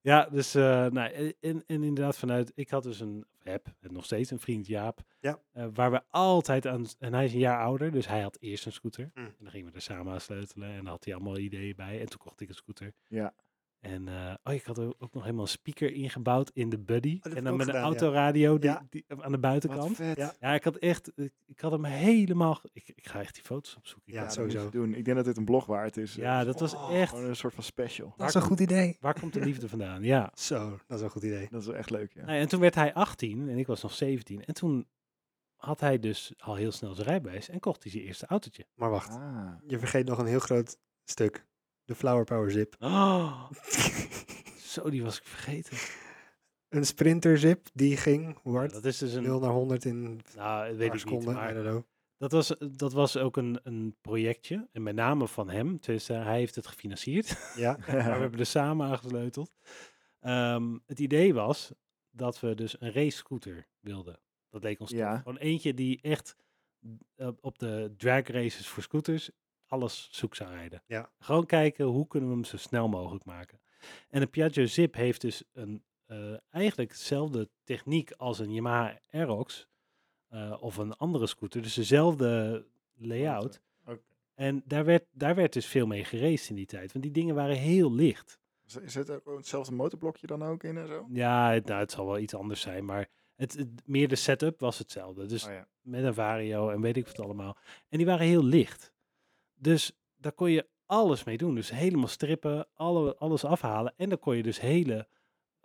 Ja, dus eh, nou, en, en inderdaad vanuit, ik had dus een, heb en nog steeds een vriend Jaap,
Ja.
eh, waar we altijd aan, en hij is een jaar ouder, dus hij had eerst een scooter.
Mm.
En dan gingen we er samen aan sleutelen en daar had hij allemaal ideeën bij. En toen kocht ik een scooter.
Ja.
En eh, oh, ik had er ook nog helemaal een speaker ingebouwd in de buddy.
Oh, heb
en
ik
dan
ook
met een
gedaan, ja.
autoradio die,
Ja.
die, eh, aan de buitenkant.
vet.
Ja.
Ja, ik had echt, ik, ik had hem helemaal, ge- ik, ik ga echt die foto's opzoeken. Ik
Ja,
had-
dat
sowieso.
moet je Doen. Ik denk dat dit een blog waard is.
ja, dat was
Oh,
echt,
Gewoon een soort van special.
Dat is een goed idee.
waar komt de liefde vandaan? Ja.
Zo, dat is een goed idee.
Dat is wel echt leuk, ja.
Nou ja, en toen werd hij 18 en ik was nog 17. En toen had hij dus al heel snel zijn rijbewijs en kocht hij zijn eerste autootje.
Maar wacht,
Ah.
je vergeet nog een heel groot stuk. De Flower Power Zip.
Oh. Zo, die was ik vergeten.
een Sprinter Zip, die ging, hoe
Ja,
hard?
dat is dus een...
0 naar 100 in
Nou, dat weet
4
ik niet.
seconden, I
Maar
don't know.
dat, was, dat was ook een, een projectje. En met name van hem. Dus hij heeft het gefinancierd.
Ja,
Maar we hebben er samen aan gesleuteld. Ehm, het idee was dat we dus een race scooter wilden. Dat leek ons tof.
Ja.
Gewoon eentje die echt eh, op de drag races voor scooters alles zoek zou rijden.
Ja.
Gewoon kijken hoe kunnen we hem zo snel mogelijk maken. En de Piaggio Zip heeft dus een, eh, eigenlijk dezelfde techniek als een Yamaha Aerox eh, of een andere scooter. Dus dezelfde layout.
Oké.
En daar werd, daar werd dus veel mee geraced in die tijd. Want die dingen waren heel licht.
Z- Is het ook hetzelfde motorblokje dan ook in en zo?
Ja, het, nou, het zal wel iets anders zijn, maar het, het- meer de setup was hetzelfde. Dus
Oh ja.
met een vario en weet ik wat allemaal. En die waren heel licht. Dus daar kon je alles mee doen. Dus helemaal strippen, alle, alles afhalen. En dan kon je dus hele,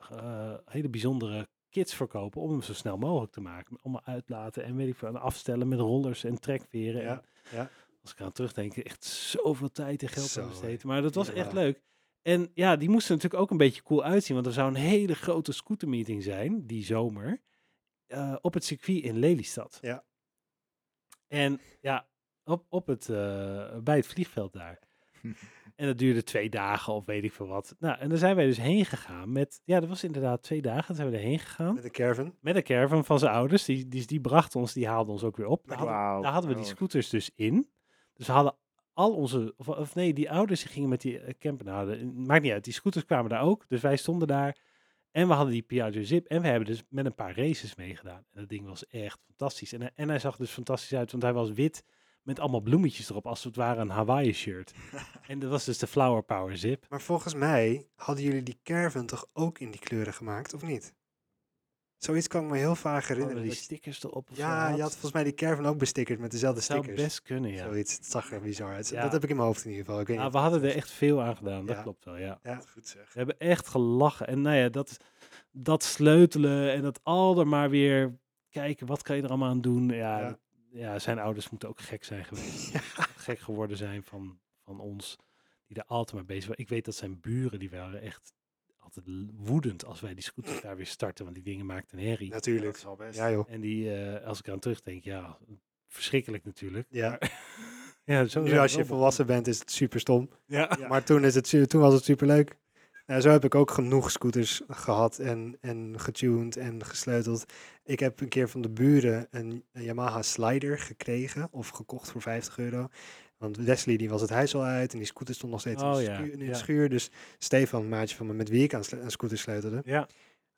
eh, hele bijzondere kits verkopen om hem zo snel mogelijk te maken. Om hem uitlaten en weet ik veel, en afstellen met rollers en trekveren.
Ja,
En
ja.
Als ik aan terugdenk, echt zoveel tijd en geld
Zo,
aan
hè.
besteed. Maar dat was
Ja.
echt leuk. En ja, die moesten natuurlijk ook een beetje cool uitzien. Want er zou een hele grote scootermeeting zijn, die zomer, eh, op het circuit in Lelystad.
Ja.
En ja, op, op het, eh, bij het vliegveld daar. en dat duurde twee dagen of weet ik veel wat. Nou, en daar zijn wij dus heen gegaan met... Ja, dat was inderdaad twee dagen. Daar zijn we erheen gegaan.
met de caravan.
Met een caravan van zijn ouders. Die, die, die bracht ons, die haalde ons ook weer op. Daar hadden,
Wauw.
daar hadden we die
Oh.
scooters dus in. Dus we hadden al onze, of, of nee, die ouders die gingen met die eh, camper naar de- Maakt niet uit, die scooters kwamen daar ook. Dus wij stonden daar en we hadden die Piaggio Zip. En we hebben dus met een paar races meegedaan. En dat ding was echt fantastisch. En, hij- en hij zag dus fantastisch uit, want hij was wit met allemaal bloemetjes erop. Als het ware een Hawaii shirt. en dat was dus de Flower Power Zip.
Maar volgens mij hadden jullie die caravan toch ook in die kleuren gemaakt, of niet? Zoiets kan ik me heel vaag herinneren.
Hadden
Die
die
st-
stickers erop. of zo
ja, je had volgens mij die caravan ook bestickerd met dezelfde
Dat zou
stickers.
best kunnen, ja.
Zoiets, het zag er bizar uit.
Ja.
Dat heb ik in mijn hoofd in ieder geval. Ik weet
Nou,
niet.
we hadden er echt veel aan gedaan, dat
Ja.
klopt wel, ja.
Ja.
Goed zeg.
We hebben echt gelachen. En nou ja, dat, dat sleutelen en dat al er maar weer kijken, wat kan je er allemaal aan doen? Ja,
Ja.
dat- ja zijn ouders moeten ook gek zijn geweest. Gek geworden zijn van, van ons, die daar altijd maar bezig waren. Ik weet dat zijn buren, die waren echt altijd l- woedend als wij die scooters daar weer starten, want die dingen maakten een herrie.
Natuurlijk.
zal best.
Ja, joh.
En die, eh, als ik aan terugdenk, ja, verschrikkelijk natuurlijk.
Ja.
Ja, zo
Nu
zijn
als
we
je
wel
volwassen bent is het super stom.
begonnen. Ja.
Ja.
Maar toen, is het, su- toen was het super leuk. Nou, zo heb ik ook genoeg scooters gehad en, en getuned en gesleuteld. Ik heb een keer van de buren een, een Yamaha Slider gekregen of gekocht voor 50 euro. Want Wesley die was het huis al uit en die scooter stond nog steeds in,
Oh
de
ja,
schuur, in de
ja.
schuur. Dus Stefan, een maatje van me, met wie ik aan, sle- aan scooters sleutelde,
Ja.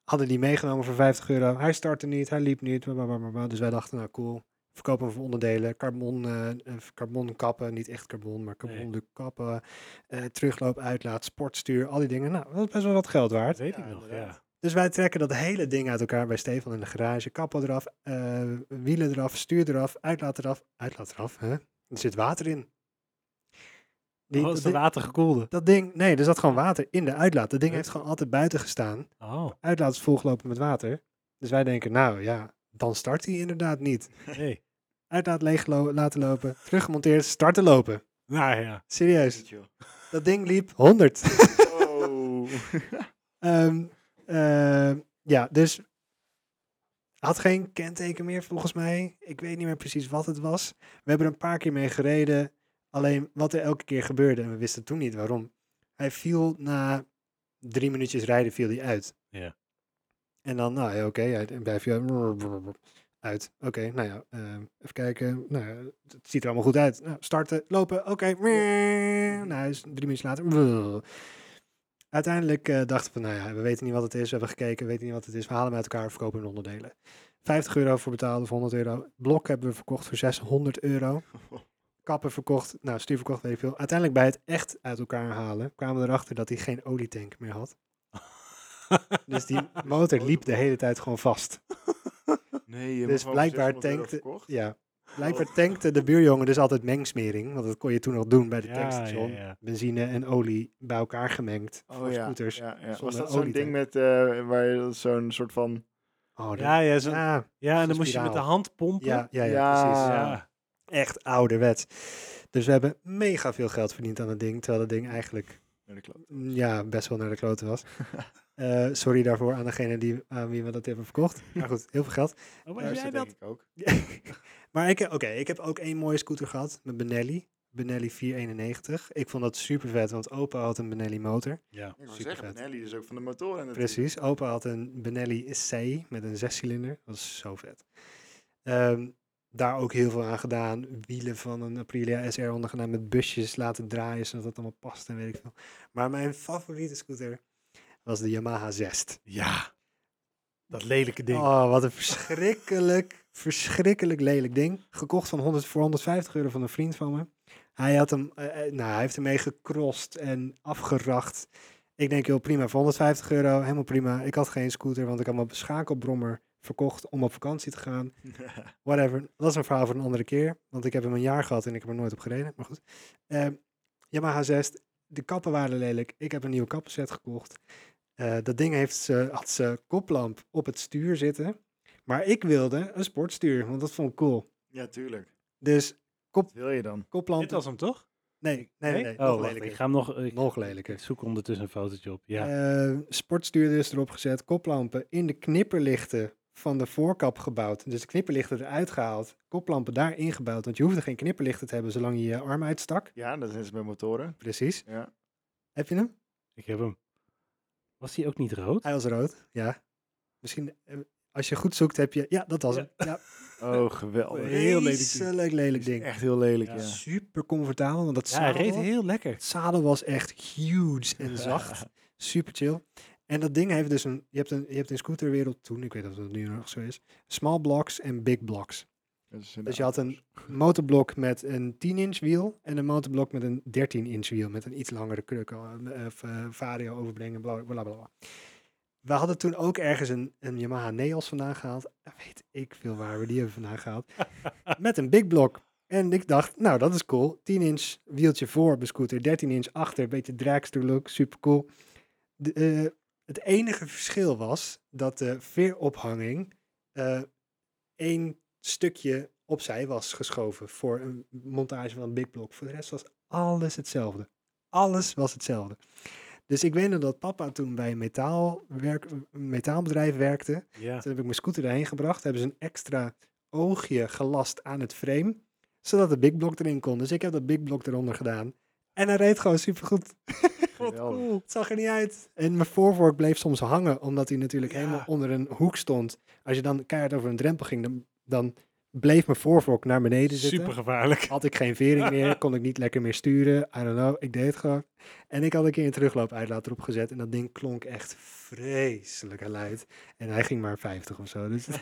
hadden die meegenomen voor 50 euro. Hij startte niet, hij liep niet, bla, bla, bla, bla, bla. dus wij dachten, nou cool, verkopen hem voor onderdelen, carbon, eh, eh, carbon kappen, niet echt carbon, maar
Nee.
carbon kappen, eh, terugloop, uitlaat, sportstuur, al die dingen. Nou, dat was best wel wat geld
Dat
waard.
weet
Ja,
ik nog,
inderdaad.
ja.
Dus wij trekken dat hele ding uit elkaar bij Stefan in de garage, kappen eraf, eh, wielen eraf, stuur eraf, uitlaat eraf, uitlaat eraf, hè? Er zit water in. Die-
oh,
dat,
is de
ding,
watergekoelde.
dat ding, nee, er zat gewoon water in de uitlaat. Dat ding
Huh?
heeft gewoon altijd buiten gestaan
Oh,
uitlaat is volgelopen met water. Dus wij denken, nou ja, dan start hij inderdaad niet.
nee.
Uitlaat leeg lo- laten lopen, teruggemonteerd, starten lopen.
Nou ja.
Serieus,
Niet, joh.
dat ding liep 100.
Oh.
Ehm, ehm, ja, dus had geen kenteken meer volgens mij. Ik weet niet meer precies wat het was. We hebben er een paar keer mee gereden. Alleen wat er elke keer gebeurde, en we wisten toen niet waarom. Hij viel na drie minuutjes rijden, viel hij uit.
Ja.
En dan, nou ja, oké, hij dan blijf je uit. Oké, nou ja, ehm, even kijken. Nou, ja, het ziet er allemaal goed uit. Nou, starten, lopen, oké. Naar huis, drie minuten later. Uiteindelijk eh, dachten we, nou ja, we weten niet wat het is. We hebben gekeken, we weten niet wat het is. We halen hem uit elkaar, verkopen hem in onderdelen. 50 euro voor betaald of 100 euro. Blok hebben we verkocht voor 600 euro. Kappen verkocht, nou stuur verkocht, weet ik veel. Uiteindelijk bij het echt uit elkaar halen, kwamen we erachter dat hij geen olietank meer had. Dus die motor liep de hele tijd gewoon vast.
Nee, je
Dus
mag wel
blijkbaar
600 euro
tankte-
verkocht.
Ja. Blijkbaar tankte de buurjongen dus altijd mengsmering. Want dat kon je toen nog doen bij de
Ja,
tankstation.
ja, ja.
Benzine en olie bij elkaar gemengd
Oh
voor
ja.
scooters.
ja, ja. Was
zonder
dat zo'n ding
olietank.
met, eh waar je zo'n soort van...
Oh, dat-
Ja, ja, zo, ja,
ja,
en
zo'n
dan moest je met de
spiraal.
hand pompen.
ja, ja, ja,
Ja.
precies.
Ja.
Echt ouderwets. Dus we hebben mega veel geld verdiend aan dat ding. Terwijl dat ding eigenlijk
Nee, dat klopt.
mm, ja, best wel naar de kloten was. Eh, sorry daarvoor aan degene die, aan wie we dat hebben verkocht. Maar goed, heel veel geld.
Oh,
Daar
maar
zit
jij
denk
dat?
ik ook.
maar ik, heb- oké, ik heb ook één mooie scooter gehad met Benelli. Benelli 491. Ik vond dat super vet, want opa had een Benelli motor.
Ja.
Ik wou
Super
zeggen,
vet.
Benelli is ook van de motoren natuurlijk.
Precies. Opa had een Benelli C met een zescilinder. Dat was zo vet. Ehm, daar ook heel veel aan gedaan. Wielen van een Aprilia SR ondergedaan met busjes laten draaien zodat dat allemaal past en weet ik veel. Maar mijn favoriete scooter was de Yamaha Zest.
Ja. Dat lelijke ding.
Oh, wat een verschrikkelijk, verschrikkelijk lelijk ding. Gekocht van 100, voor 150 euro van een vriend van me. Hij had hem, eh, eh, nou, hij heeft ermee gecrossed en afgeracht. Ik denk, heel prima, voor 150 euro, helemaal prima. Ik had geen scooter, want ik had mijn schakelbrommer verkocht om op vakantie te gaan. Whatever, dat is een verhaal voor een andere keer. Want ik heb hem een jaar gehad en ik heb er nooit op gereden. Maar goed. Ehm Yamaha 6, de kappen waren lelijk. Ik heb een nieuwe kappenset gekocht. Eh, dat ding heeft ze, had ze koplamp op het stuur zitten. Maar ik wilde een sportstuur, want dat vond ik cool.
ja, tuurlijk.
Dus
Wat wil je dan?
koplamp...
Dit was hem toch?
Nee, nee, nee. nee,
oh,
nog
wacht,
lelijker.
ik ga hem nog... Ik,
Nog lelijker.
ik zoek ondertussen een fotootje op. Ja.
Eh, sportstuur dus erop gezet, koplampen in de knipperlichten van de voorkap gebouwd. Dus de knipperlichten eruit gehaald, koplampen daarin gebouwd. Want je hoefde geen knipperlichten te hebben zolang je je arm uitstak.
Ja, dat is bij motoren.
Precies.
Ja.
Heb je hem?
Ik heb hem. Was hij ook niet rood?
Hij was rood, ja. Misschien, eh, als je goed zoekt, heb je... Ja, dat was
Ja.
hem. Ja,
Oh, geweldig.
Heel lelijk ding.
Vreselijk lelijk
Is
ding.
Echt heel lelijk,
Ja.
ja.
Superlelijk super comfortabel. Want dat
Ja, hij
zadel,
reed heel lekker.
het zadel was echt huge en zacht. super chill. En dat ding heeft dus een, je hebt, een, je hebt in scooterwereld toen, ik weet niet of dat nu nog zo is, small blocks en big blocks.
Dat is in de
Dus je had
auto's.
een motorblok met een 10-inch wiel en een motorblok met een 13-inch wiel met een iets langere kruk, eh, of eh, vario overbrengen, bla bla bla. bla. We hadden toen ook ergens een, een Yamaha Neos vandaan gehaald. Eh, Weet ik veel waar we die hebben vandaan gehaald. met een big blok. En ik dacht, nou dat is cool. 10-inch wieltje voor op de scooter, 13-inch achter, beetje dragster look, super cool. De, eh, het enige verschil was dat de veerophanging eh, één stukje opzij was geschoven voor een montage van een big block. Voor de rest was alles hetzelfde. Alles was hetzelfde. Dus ik weet nog dat papa toen bij een metaalwerk, een metaalbedrijf werkte.
Ja.
Toen heb ik mijn scooter daarheen gebracht. Hebben ze een extra oogje gelast aan het frame. Zodat de big block erin kon. Dus ik heb dat big block eronder gedaan. En hij reed gewoon supergoed.
Geweldig.
Het zag er niet uit. Oh. En mijn voorvork bleef soms hangen, omdat hij natuurlijk
Ja.
helemaal onder een hoek stond. Als je dan keihard over een drempel ging, dan, dan bleef mijn voorvork naar beneden zitten.
Super gevaarlijk.
Had ik geen vering meer, kon ik niet lekker meer sturen. I don't know, ik deed het gewoon. En ik had een keer een terugloopuitlaat erop gezet en dat ding klonk echt vreselijk luid. En hij ging maar 50 of zo. Dus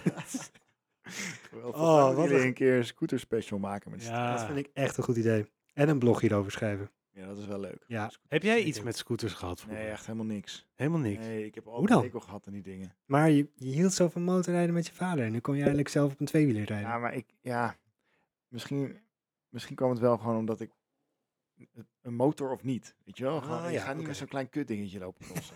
Oh,
Geweldig. Volgens mij
wat
moeten jullie
een-
een keer een scooter special maken met ja.
dat
Ja.
vind ik echt een goed idee. En een blog hierover schrijven.
ja, dat is wel leuk.
Ja,
Heb jij
Ik
iets
denk-
met scooters gehad? vroeger?
Nee, echt helemaal niks.
Helemaal niks.
Nee, ik heb al
Hoe dan?
al gehad aan die dingen.
maar je, je hield zo van motorrijden met je vader. En nu kon je eigenlijk zelf op een tweewieler rijden.
Ja, maar ik, ja, misschien, misschien kwam het wel gewoon omdat ik een motor of niet, weet je wel? Gewoon,
Ah,
ik
ja,
ga niet
oké.
met zo'n klein kut dingetje lopen crossen.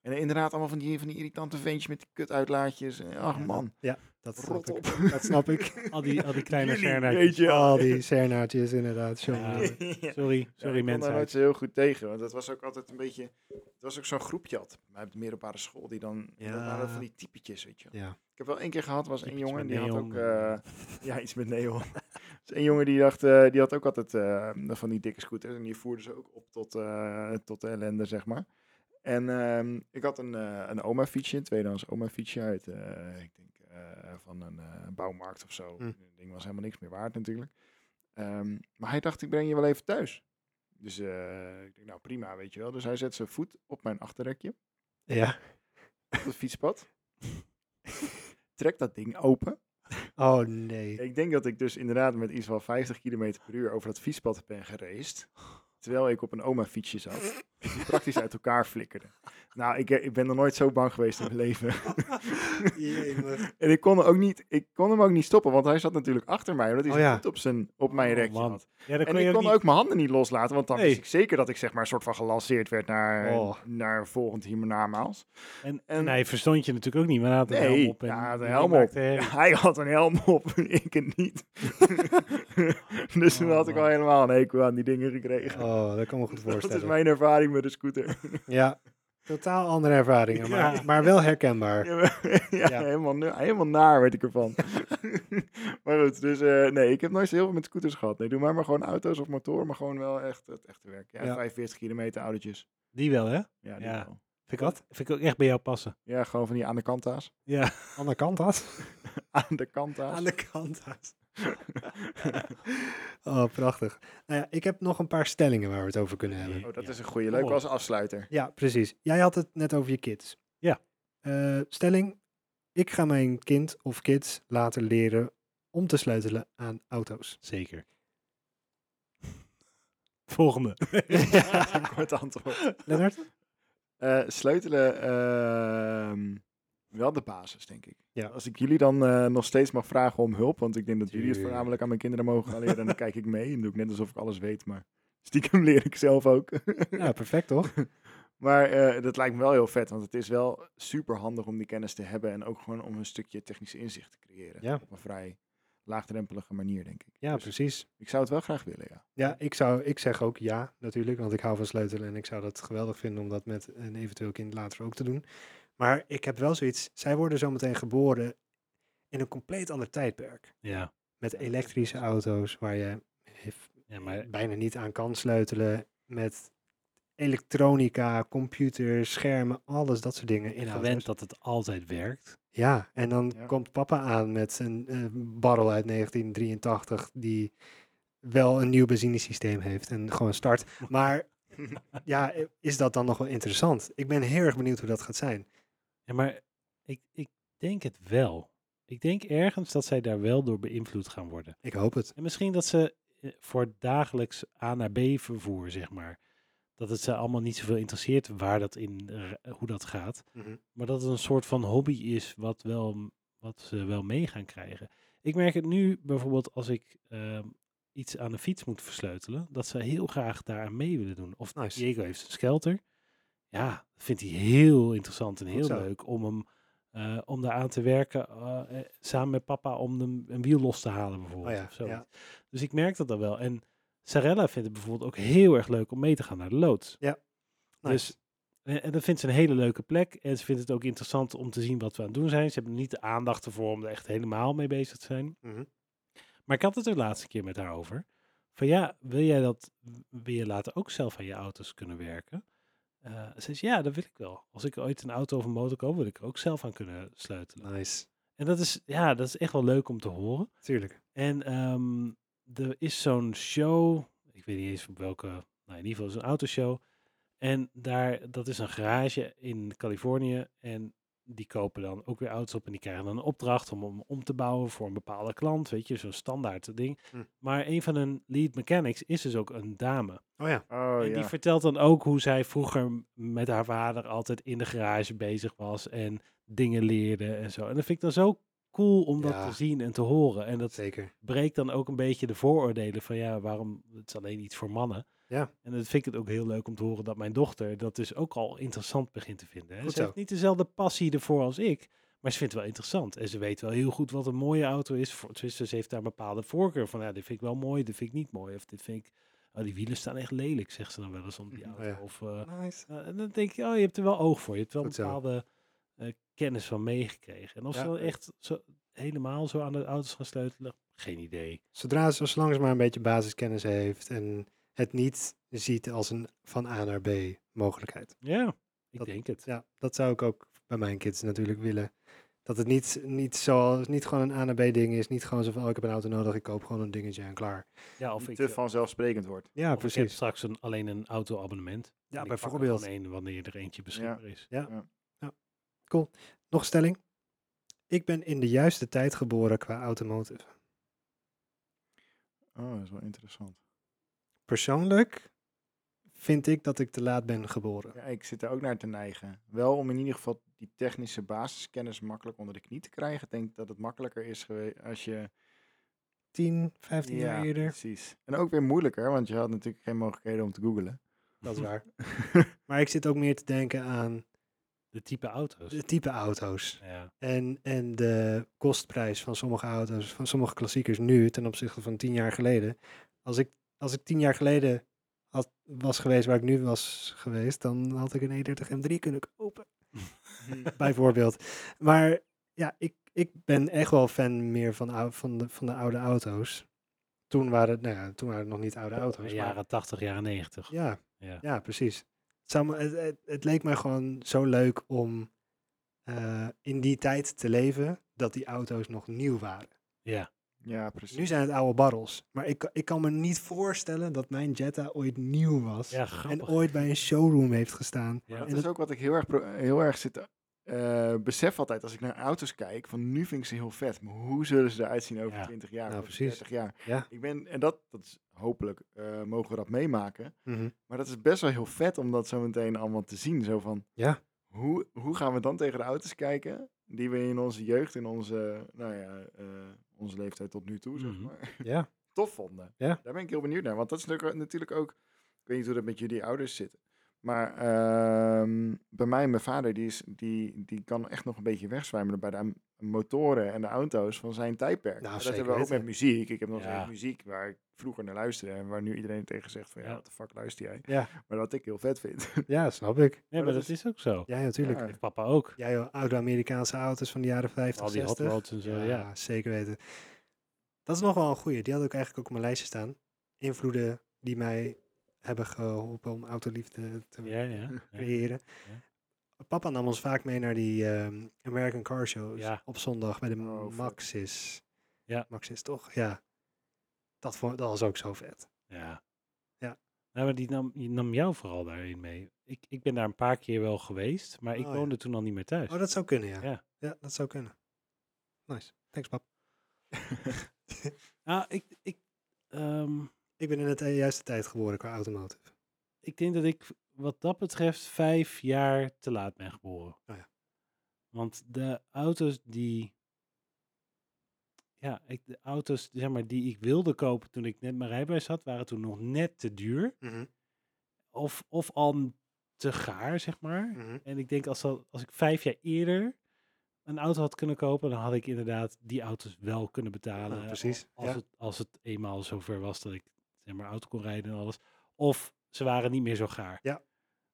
en inderdaad allemaal van die, van die irritante ventjes met die kutuitlaatjes. En, Ach
Ja,
man,
dat
rot
snap ik.
op.
Dat snap ik.
Al die, al die kleine
Jullie,
schernaartjes.
weet je wel.
Al die sernaartjes inderdaad.
Ja.
jongen.
Sorry,
Ja.
sorry
ik kon daar
mensen.
nooit zo heel goed tegen. Want dat was ook altijd een beetje... Het was ook zo'n groepje had. Maar op de middelbare school, die dan... Dat
Ja.
waren van die typetjes, weet je wel.
Ja.
Ik heb wel één keer gehad, was een
Typetjes
jongen, die
met
had ook...
neon en-
eh, ja, iets met neon. dus een jongen die dacht, eh, die had ook altijd eh, van die dikke scooters. En die voerde ze ook op tot, eh, tot de ellende, zeg maar. En ehm, ik had een, eh, een oma fietsje, een tweedehands oma fietsje uit, eh, ik denk eh, van een eh, bouwmarkt of zo.
Hm.
Het ding was helemaal niks meer waard natuurlijk. Ehm, maar hij dacht, ik breng je wel even thuis. Dus eh, ik denk, nou prima, weet je wel. Dus hij zet zijn voet op mijn achterrekje,
ja.
op het fietspad. Trekt dat ding open.
Oh nee.
Ik denk dat ik dus inderdaad met iets van 50 km per uur over dat fietspad ben geraced. Terwijl ik op een oma fietsje zat. Die praktisch uit elkaar flikkerde. Nou, ik, ik ben nog nooit zo bang geweest in mijn leven. en ik kon, er ook niet, ik kon hem ook niet stoppen, want hij zat natuurlijk achter mij. Omdat hij
Oh
zijn
ja.
voet op, zijn, op mijn
Oh,
rekje
man.
had.
Ja, dat
En
kon je
ik
ook
kon
niet.
ook mijn handen niet loslaten, want dan
Nee.
wist ik zeker dat ik zeg maar een soort van gelanceerd werd naar,
Oh.
naar volgend hiernamaals.
En,
en-
en hij verstond je natuurlijk ook niet, maar hij had een
Nee,
helm op. En
ja, hij had een
iedereen
helm op.
maakte herrie.
Hij had een helm op, ik het niet. dus toen
Oh,
had ik al
man.
helemaal een hekel aan die dingen gekregen.
Oh, dat kan me goed
Dat is
voorstellen.
mijn ervaring met de scooter.
Ja, totaal andere ervaringen, maar,
Ja.
maar wel herkenbaar.
ja, maar- ja,
Ja.
Helemaal, nu- helemaal naar werd ik ervan. maar goed, dus eh, nee, ik heb nooit zo heel veel met scooters gehad. Nee, doe maar, maar gewoon auto's of motoren, maar gewoon wel echt het echte werk. Ja,
Ja.
45 kilometer autootjes.
Die wel, hè?
Ja, die
Ja.
wel.
Vind ik, wat? Vind ik ook echt bij jou passen.
ja, gewoon van die aan de kanta's.
Ja.
Aan de kant had.
Aan de kanta's.
de kant had. oh, prachtig. Nou ja, ik heb nog een paar stellingen waar we het over kunnen hebben.
Oh, dat
Ja.
is een goede. Leuk
Oh.
als afsluiter.
Ja, precies. Jij had het net over je kids.
Ja.
Eh, stelling, ik ga mijn kind of kids laten leren om te sleutelen aan auto's.
Zeker. Volgende.
Kort antwoord.
Lennart?
Eh, sleutelen, ehm, wel de basis, denk ik.
Ja.
Als ik jullie dan eh, nog steeds mag vragen om hulp, want ik denk dat jullie het
Tuurlijk.
voornamelijk aan mijn kinderen mogen gaan leren, en dan kijk ik mee en doe ik net alsof ik alles weet, maar stiekem leer ik zelf ook.
Ja, perfect toch?
maar eh, dat lijkt me wel heel vet, want het is wel super handig om die kennis te hebben en ook gewoon om een stukje technisch inzicht te creëren.
Ja.
Op een vrij laagdrempelige manier, denk ik.
Ja,
Dus
precies.
ik zou het wel graag willen, ja.
Ja, ik, zou, ik zeg ook ja, natuurlijk, want ik hou van sleutelen en ik zou dat geweldig vinden om dat met een eventueel kind later ook te doen. Maar ik heb wel zoiets, zij worden zometeen geboren in een compleet ander tijdperk.
Ja.
Met elektrische auto's waar je hef-
ja maar
bijna niet aan kan sleutelen, met elektronica, computers, schermen, alles dat soort dingen in auto's.
gewend dat het altijd werkt.
Ja, en dan
Ja.
komt papa aan met zijn eh, barrel uit 1983 die wel een nieuw benzinesysteem heeft en gewoon start. Maar ja, is dat dan nog wel interessant? Ik ben heel erg benieuwd hoe dat gaat zijn.
Ja, maar ik, ik denk het wel. Ik denk ergens dat zij daar wel door beïnvloed gaan worden.
Ik hoop het.
En misschien dat ze eh, voor dagelijks A naar B vervoer, zeg maar, dat het ze allemaal niet zoveel interesseert waar dat in, eh, hoe dat gaat.
Mhm.
Maar dat het een soort van hobby is wat, wel, wat ze wel mee gaan krijgen. Ik merk het nu bijvoorbeeld als ik ehm, iets aan de fiets moet versleutelen, dat ze heel graag daaraan mee willen doen. Of
Nice.
Diego heeft een skelter. Ja, vindt hij heel interessant en heel
zo.
leuk om hem eh, om daar aan te werken eh, eh, samen met papa om hem een wiel los te halen
Oh
bijvoorbeeld.
ja,
of zo.
ja.
Dus ik merk dat dan wel. En Sarella vindt het bijvoorbeeld ook heel erg leuk om mee te gaan naar de loods.
Nice.
Dus en, en dat vindt ze een hele leuke plek. En ze vindt het ook interessant om te zien wat we aan het doen zijn. Ze hebben er niet de aandacht ervoor om er echt helemaal mee bezig te zijn.
Mhm.
Maar ik had het er de laatste keer met haar over. Van ja, wil jij dat, wil je later ook zelf aan je auto's kunnen werken? Eh, ze zegt ja, dat wil ik wel. Als ik ooit een auto of een motor koop, wil ik er ook zelf aan kunnen sleutelen.
nice.
En dat is, ja, dat is echt wel leuk om te horen.
Tuurlijk.
En ehm, er is zo'n show, ik weet niet eens op welke, nou in ieder geval is een autoshow. En daar, dat is een garage in Californië. En die kopen dan ook weer auto's op en die krijgen dan een opdracht om hem om te bouwen voor een bepaalde klant. Weet je, zo'n standaard ding.
Hm.
Maar een van hun lead mechanics is dus ook een dame.
Oh ja.
Oh
en die
ja.
vertelt dan ook hoe zij vroeger m- met haar vader altijd in de garage bezig was en dingen leerde en zo. En dat vind ik dan zo cool om dat
Ja.
te zien en te horen. En dat
Zeker.
breekt dan ook een beetje de vooroordelen van ja, waarom het is alleen iets voor mannen.
Ja.
En dan vind ik het ook heel leuk om te horen dat mijn dochter dat dus ook al interessant begint te vinden. Hè.
Goed
Ze heeft
zo.
niet dezelfde passie ervoor als ik, maar ze vindt het wel interessant. En ze weet wel heel goed wat een mooie auto is. Voor- Dus ze heeft daar een bepaalde voorkeur van, ja, dit vind ik wel mooi, dit vind ik niet mooi. Of dit vind ik, oh, die wielen staan echt lelijk, zegt ze dan wel eens om die
Mhm, oh
auto.
ja.
Of, eh,
Nice.
eh, en dan denk je, oh, je hebt er wel oog voor. Je hebt wel een
Goed zo.
bepaalde eh, kennis van meegekregen. En of ze
Ja.
dan echt zo, helemaal zo aan de auto's gaan sleutelen, geen idee.
Zodra ze, zolang ze maar een beetje basiskennis heeft en het niet ziet als een van A naar B mogelijkheid.
Ja, ik
Dat-
denk het.
Ja, dat zou ik ook bij mijn kids natuurlijk willen. Dat het niet, niet, zoals, niet gewoon een A naar B ding is. Niet gewoon zo van, oh, ik heb een auto nodig, ik koop gewoon een dingetje en klaar.
Ja, of
Of
ik,
te
eh,
vanzelfsprekend wordt.
Ja,
of ik heb
precies.
straks een, alleen een auto-abonnement.
Ja,
En ik pak er
bijvoorbeeld.
gewoon één wanneer er eentje beschikbaar is.
Nog een stelling. Ik ben in de juiste tijd geboren qua automotive.
Oh, dat is wel interessant.
Persoonlijk vind ik dat ik te laat ben geboren.
Ja, ik zit er ook naar te neigen. Wel om in ieder geval die technische basiskennis makkelijk onder de knie te krijgen. Ik denk dat het makkelijker is geweest als je...
10, 15 jaar eerder.
precies. En ook weer moeilijker, want je had natuurlijk geen mogelijkheden om te googlen.
Dat is waar. maar ik zit ook meer te denken aan
De type auto's.
de type auto's.
Ja.
En, en de kostprijs van sommige auto's, van sommige klassiekers nu ten opzichte van 10 jaar geleden. Als ik, als ik 10 jaar geleden had, was geweest waar ik nu was geweest, dan had ik een E E30 M3 kunnen kopen. bijvoorbeeld. Maar ja, ik, ik ben echt wel fan meer van, ou- van, de, van de oude auto's. Toen waren, het, nou ja, toen waren het nog niet oude auto's. maar-
Jaren 80, jaren 90.
Ja,
Ja.
ja. precies. Het, zou me- het, het, het leek mij gewoon zo leuk om eh, in die tijd te leven dat die auto's nog nieuw waren.
Ja.
Ja, precies.
Nu zijn het oude barrels. Maar ik, ik kan me niet voorstellen dat mijn Jetta ooit nieuw was.
Ja,
en
grappig.
ooit bij een showroom heeft gestaan.
Ja.
Dat
En
is
dat-
ook wat ik heel erg, pro- heel erg zit, eh, besef altijd als ik naar auto's kijk. Van nu vind ik ze heel vet, maar hoe zullen ze eruit zien over
Ja.
20 jaar,
Nou,
of
precies.
30 jaar?
Ja.
Ik ben, en dat, dat is hopelijk eh, mogen we dat meemaken.
Mhm.
Maar dat is best wel heel vet om dat zo meteen allemaal te zien. Zo van,
Ja.
hoe, hoe gaan we dan tegen de auto's kijken die we in onze jeugd, in onze, nou ja, eh, onze leeftijd tot nu toe, zeg
Mhm.
maar,
Ja.
tof vonden.
Ja.
Daar ben ik heel benieuwd naar. Want dat is natuurlijk- natuurlijk ook, ik weet niet hoe dat met jullie ouders zit. Maar ehm, bij mij, en mijn vader, die, is, die, die kan echt nog een beetje wegzwijmelen bij de am- motoren en de auto's van zijn tijdperk.
Nou,
En dat
zeker
hebben we ook
weten.
met muziek. Ik heb nog
Ja.
steeds muziek waar ik vroeger naar luisterde en waar nu iedereen tegen zegt van ja,
Ja.
wat de fuck luister jij?
Ja.
Maar wat ik heel vet vind.
ja, snap ik.
Nee, maar
maar dat
dat is ook zo.
Ja, natuurlijk.
Ja.
Heeft papa ook.
Ja, joh, oude Amerikaanse auto's van de jaren 50,
Al die hot
60.
rods en zo, ja.
zeker weten. Dat is nog wel een goeie. Die had ik eigenlijk ook op mijn lijstje staan. Invloeden die mij hebben geholpen om autoliefde te
Ja, ja. ja.
creëren. Papa nam ons vaak mee naar die ehm, American Car Shows
Ja.
op zondag bij de
Oh, vet.
Maxis.
Ja.
Maxis, toch? Ja. Dat, vond, dat was ook zo vet.
Ja.
Ja.
Nou, maar die nam, die nam jou vooral daarin mee. Ik, ik ben daar een paar keer wel geweest, maar ik
Oh, ja.
woonde toen al niet meer thuis.
Oh, dat zou kunnen, ja.
Ja.
Ja, dat zou kunnen. Nice. Thanks, pap.
Nou, ik, ik, ehm,
Ik ben in het eh, juiste tijd geboren qua automotive.
ik denk dat ik wat dat betreft vijf jaar te laat ben geboren.
Oh ja.
Want de auto's die... Ja, ik, de auto's zeg maar, die ik wilde kopen toen ik net mijn rijbewijs had, waren toen nog net te duur. Of, of al te gaar, zeg maar.
Mhm.
En ik denk als, dat, als ik vijf jaar eerder een auto had kunnen kopen, dan had ik inderdaad die auto's wel kunnen betalen.
Ja, precies,
nou, Als,
ja.
het, als het eenmaal zover was dat ik zeg maar auto kon rijden en alles. Of ze waren niet meer zo gaar.
Ja.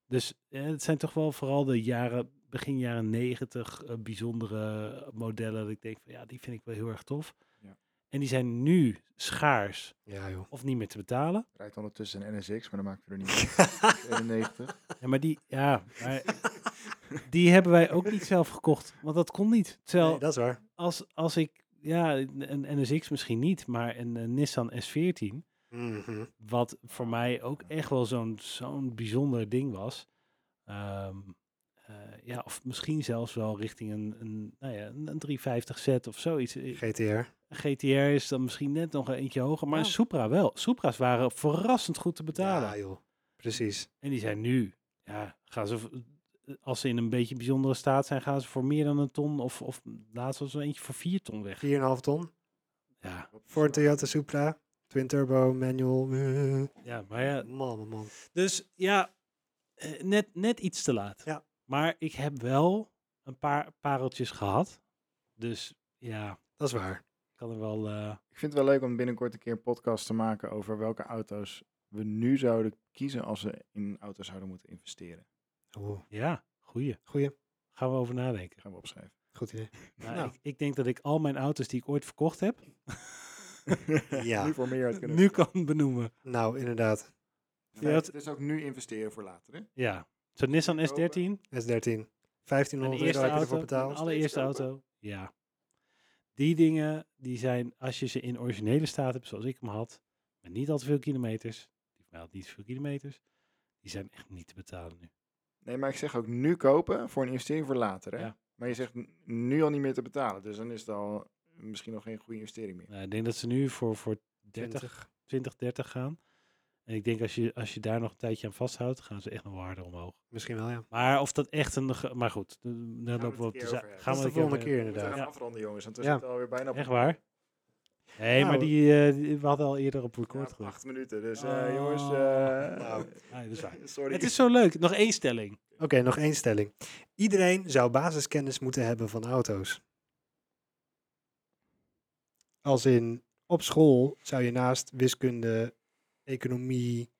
Dus eh, het zijn toch wel vooral de jaren, begin jaren negentig, eh, bijzondere eh, modellen. Dat ik denk van ja, die vind ik wel heel erg tof.
Ja.
En die zijn nu schaars
Ja, joh.
of niet meer te betalen.
Rijdt ondertussen een NSX, maar dan maakt we er niet uit. 91.
Ja, maar die, ja, maar die hebben wij ook niet zelf gekocht, want dat kon niet. Terwijl
Nee, dat is waar.
als, als ik, ja, een NSX misschien niet, maar een, eh, Nissan S14,
Mhm.
wat voor mij ook echt wel zo'n zo'n bijzonder ding was. Ehm, eh, ja, of misschien zelfs wel richting een, een, nou ja, een, een 350 set of zoiets. Eh,
GTR.
GTR is dan misschien net nog eentje hoger, maar een
Ja.
Supra wel. Supra's waren verrassend goed te betalen.
Ja, joh. Precies.
En die zijn nu, ja, gaan ze, v- eh, als ze in een beetje bijzondere staat zijn, gaan ze voor meer dan een ton of, of laatst was er eentje voor vier ton weg.
4,5 ton.
Ja,
Voor een Toyota Supra. Twin turbo, manual. Eh.
ja maar ja,
Man, man, man.
Dus ja, eh, net, net iets te laat.
Ja.
Maar ik heb wel een paar pareltjes gehad. Dus ja,
Dat is waar.
ik kan er wel. eh,
Ik vind het wel leuk om binnenkort een keer een podcast te maken over welke auto's we nu zouden kiezen als we in auto's zouden moeten investeren.
Oh,
Oeh,
ja, goeie.
Goeie.
Gaan we over nadenken.
Gaan we opschrijven.
Goed idee.
Nou,
Nou.
Ik, ik denk dat ik al mijn auto's die ik ooit verkocht heb,
Ja.
Nu voor meer uit kunnen.
nu kan benoemen.
Nou, inderdaad.
In feite,
Ja, het-
Het is ook nu investeren voor later. Hè?
Ja. Zo'n Nissan S13,
Kopen.
mijn
S13. 1500 euro
eerste
heb je
auto,
ervoor
mijn
betaald.
allereerste
kopen.
auto. Ja. Die dingen, die zijn, als je ze in originele staat hebt, zoals ik hem had, met niet al te veel kilometers, die van mij had niet zoveel kilometers, die zijn echt niet te betalen nu.
Nee, maar ik zeg ook nu kopen voor een investering voor later. Hè?
Ja.
Maar je zegt n- nu al niet meer te betalen. Dus dan is het al misschien nog geen goede investering meer.
Nou, ik denk dat ze nu voor, voor 30,
20.
20, 30 gaan. En ik denk als je, als je daar nog een tijdje aan vasthoudt, gaan ze echt nog wel harder omhoog.
Misschien wel, ja.
Maar of dat echt een. ge- Maar goed, d-
het
dan lopen we
een
op
keer
de
over
zaak.
hebben.
Dat
Gaan
is
we
de
een keer
volgende
over
keer,
We moeten
inderdaad.
gaan
Ja.
afronden, jongens. Want we
Ja.
zitten alweer bijna op
hebben. Echt waar? Nee, maar
Nou,
die, eh, die- we hadden al eerder op record
Ja,
gedrukt.
acht minuten. Dus eh,
Oh.
jongens, eh,
Nou.
Nee, Ah, dat is waar.
sorry.
Het is zo leuk. Nog één stelling.
Oké, nog één stelling. Iedereen zou basiskennis moeten hebben van auto's. Als in, op school zou je naast wiskunde, economie,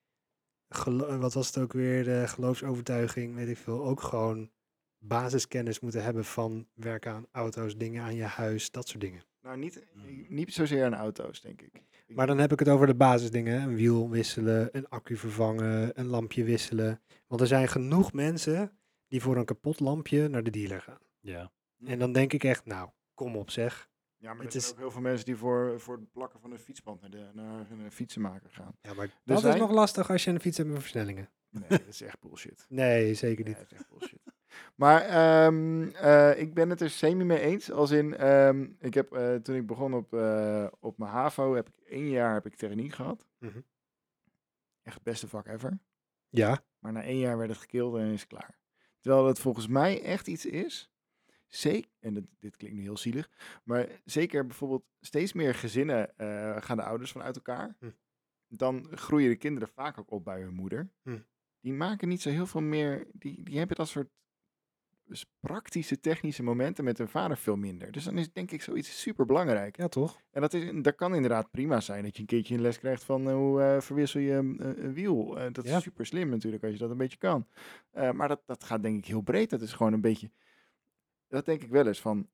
gelo- eh, wat was het ook weer, eh, geloofsovertuiging, weet ik veel, ook gewoon basiskennis moeten hebben van werken aan auto's, dingen aan je huis, dat soort dingen.
Nou, niet, niet zozeer aan auto's, denk ik.
Maar dan heb ik het over de basisdingen. hè. Een wiel wisselen, een accu vervangen, een lampje wisselen. Want er zijn genoeg mensen die voor een kapot lampje naar de dealer gaan.
Ja.
Mm. En dan denk ik echt, nou, kom op zeg.
Ja, maar
Het
er
is-
zijn ook heel veel mensen die voor, voor het plakken van een fietsband naar, de, naar een fietsenmaker gaan.
Ja, maar dat
zijn-
is nog lastig als je een fiets hebt met versnellingen.
Nee, dat is echt bullshit.
Nee, zeker
Nee,
niet.
dat is echt bullshit. Maar ehm, eh, ik ben het er semi mee eens. Als in, ehm, ik heb, eh, toen ik begon op, eh, op mijn HAVO, heb ik één jaar heb ik techniek gehad.
Mhm.
Echt het beste vak ever.
Ja,
Maar na één jaar werd het gekild en is het klaar. Terwijl dat volgens mij echt iets is. Zeker, en dit, dit klinkt nu heel zielig. Maar zeker bijvoorbeeld steeds meer gezinnen eh, gaan de ouders vanuit elkaar.
Hm.
Dan groeien de kinderen vaak ook op bij hun moeder.
Hm.
Die maken niet zo heel veel meer. Die, die hebben dat soort dus praktische technische momenten met hun vader veel minder. Dus dan is denk ik zoiets super belangrijk.
ja toch?
En dat, is, dat kan inderdaad prima zijn. Dat je een keertje een les krijgt van eh, hoe eh, verwissel je een- een een wiel. Eh, dat
Ja.
is super slim natuurlijk als je dat een beetje kan. Eh, maar dat, dat gaat denk ik heel breed. Dat is gewoon een beetje. Dat denk ik wel eens van.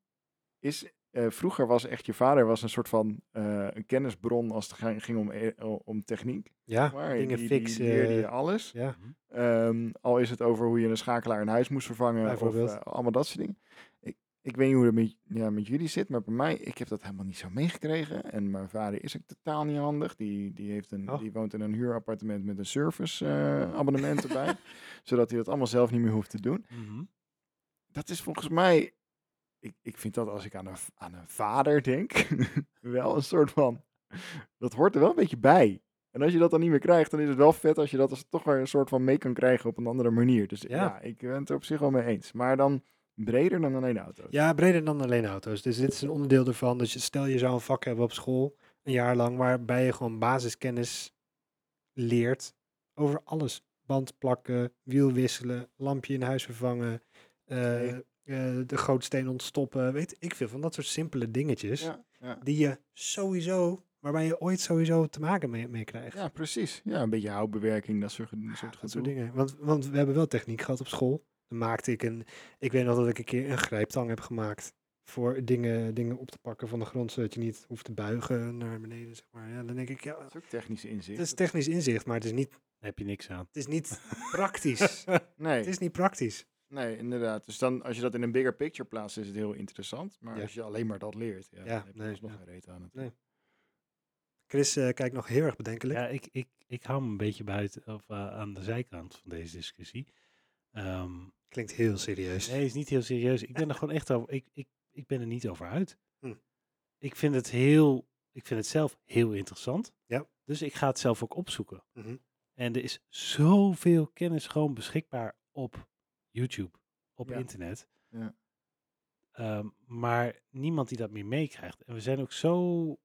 Is, eh, vroeger was echt je vader was een soort van eh, een kennisbron als het ga- ging om, e- om techniek.
Ja,
Maar
dingen
die, die
fixen.
leerde je alles.
ja.
Ehm, al is het over hoe je een schakelaar in huis moest vervangen. Of,
Bijvoorbeeld.
eh, allemaal dat soort dingen. Ik, Ik weet niet hoe het met, ja, met jullie zit, maar bij mij, ik heb dat helemaal niet zo meegekregen. En mijn vader is ook totaal niet handig. Die, die, heeft een,
Oh.
die woont in een huurappartement met een service eh, abonnement erbij. zodat hij dat allemaal zelf niet meer hoeft te doen.
Mhm.
Dat is volgens mij, ik, ik vind dat als ik aan een, v- aan een vader denk, wel een soort van, dat hoort er wel een beetje bij. En als je dat dan niet meer krijgt, dan is het wel vet als je dat als toch weer een soort van mee kan krijgen op een andere manier. Dus ja,
Ja.
ik ben het er op zich wel mee eens. Maar dan breder dan alleen auto's.
Ja, breder dan alleen auto's. Dus dit is een onderdeel ervan. Dus je- stel je zou een vak hebben op school, een jaar lang, waarbij je gewoon basiskennis leert over alles. Band plakken, wiel wisselen, lampje in huis vervangen, eh,
Oké.
eh, de gootsteen ontstoppen. Weet ik veel van dat soort simpele dingetjes
Ja, ja.
die je sowieso, waarbij je ooit sowieso te maken mee, mee krijgt.
Ja, precies. Ja, een beetje houtbewerking, dat soort, ge- soort
Dat soort
gedoe.
dingen. Want, want we hebben wel techniek gehad op school. Dan maakte ik een. Ik weet nog dat ik een keer een grijptang heb gemaakt. Voor dingen, dingen op te pakken van de grond. Zodat je niet hoeft te buigen naar beneden. Zeg maar. ja, dan denk ik, ja,
Dat is ook technisch inzicht.
het is technisch inzicht, maar het is niet,
Daar heb je niks aan.
het is niet praktisch.
nee,
Het is niet praktisch.
nee, inderdaad. Dus dan, als je dat in een bigger picture plaatst, is het heel interessant. Maar
Ja.
als je alleen maar dat leert, ja,
Ja,
dan heb je
nee,
nog
ja.
geen reet aan het.
Nee. Chris eh, kijkt nog heel erg bedenkelijk.
Ja, ik, ik, ik hou me een beetje buiten of eh, aan de zijkant van deze discussie. Ehm,
Klinkt heel serieus.
nee, is niet heel serieus. Ik ben er gewoon echt over. Ik, ik, ik ben er niet over uit.
Hm.
Ik vind het heel. Ik vind het zelf heel interessant.
Ja.
Dus ik ga het zelf ook opzoeken.
Mhm.
En er is zoveel kennis gewoon beschikbaar op YouTube, op
Ja.
internet.
Ja.
Ehm, maar niemand die dat meer meekrijgt. En we zijn ook zo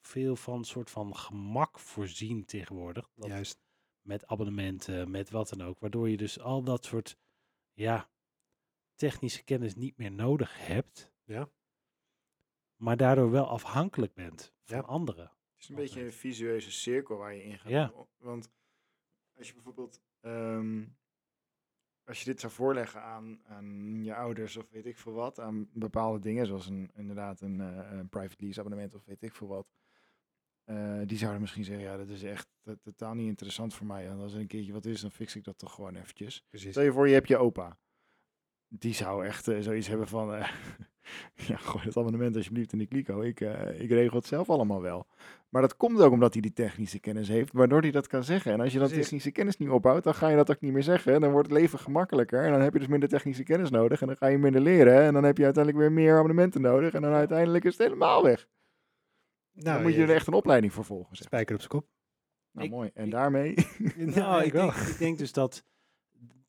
veel van soort van gemak voorzien tegenwoordig. Dat
Juist.
met abonnementen, met wat dan ook. Waardoor je dus al dat soort ja, technische kennis niet meer nodig hebt.
Ja.
Maar daardoor wel afhankelijk bent van
Ja.
anderen.
Het is een
Altijd.
beetje een visueuze cirkel waar je in gaat.
Ja.
O- Want als je bijvoorbeeld, ehm, als je dit zou voorleggen aan, aan je ouders of weet ik veel wat, aan bepaalde dingen, zoals een, inderdaad een, eh, een private lease abonnement of weet ik veel wat, eh, die zouden misschien zeggen, ja, dat is echt to- totaal niet interessant voor mij. En als er een keertje wat is, dan fix ik dat toch gewoon eventjes.
Precies.
Stel je voor, je hebt je opa. Die zou echt eh, zoiets hebben van, eh, ja, gooi het abonnement alsjeblieft in de kliko. Ik, eh, ik regel het zelf allemaal wel. Maar dat komt ook omdat hij die technische kennis heeft, waardoor hij dat kan zeggen. En als je dan
Dus
Precies.
technische kennis niet ophoudt, dan ga je dat ook niet meer zeggen. En dan wordt het leven gemakkelijker. En dan heb je dus minder technische kennis nodig. En dan ga je minder leren. En dan heb je uiteindelijk weer meer abonnementen nodig. En dan uiteindelijk is het helemaal weg.
Nou,
dan moet je er echt een opleiding voor volgen. zeg.
spijker op zijn kop.
Nou,
Ik-
mooi. En
ik-
daarmee...
Nou, ik denk, ik denk dus dat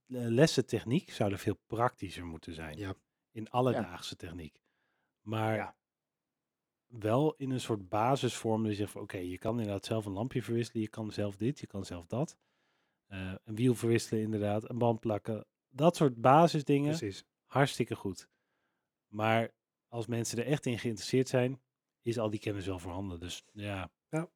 eh, lessen techniek zouden veel praktischer moeten zijn.
Ja.
In alledaagse techniek. Maar
Ja.
wel in een soort basisvorm. Dus je zegt van oké, je kan inderdaad zelf een lampje verwisselen. Je kan zelf dit, je kan zelf dat. Eh, een wiel verwisselen inderdaad, een band plakken. Dat soort basisdingen,
Precies.
hartstikke goed. Maar als mensen er echt in geïnteresseerd zijn, is al die kennis wel voorhanden. Dus ja,
Ja.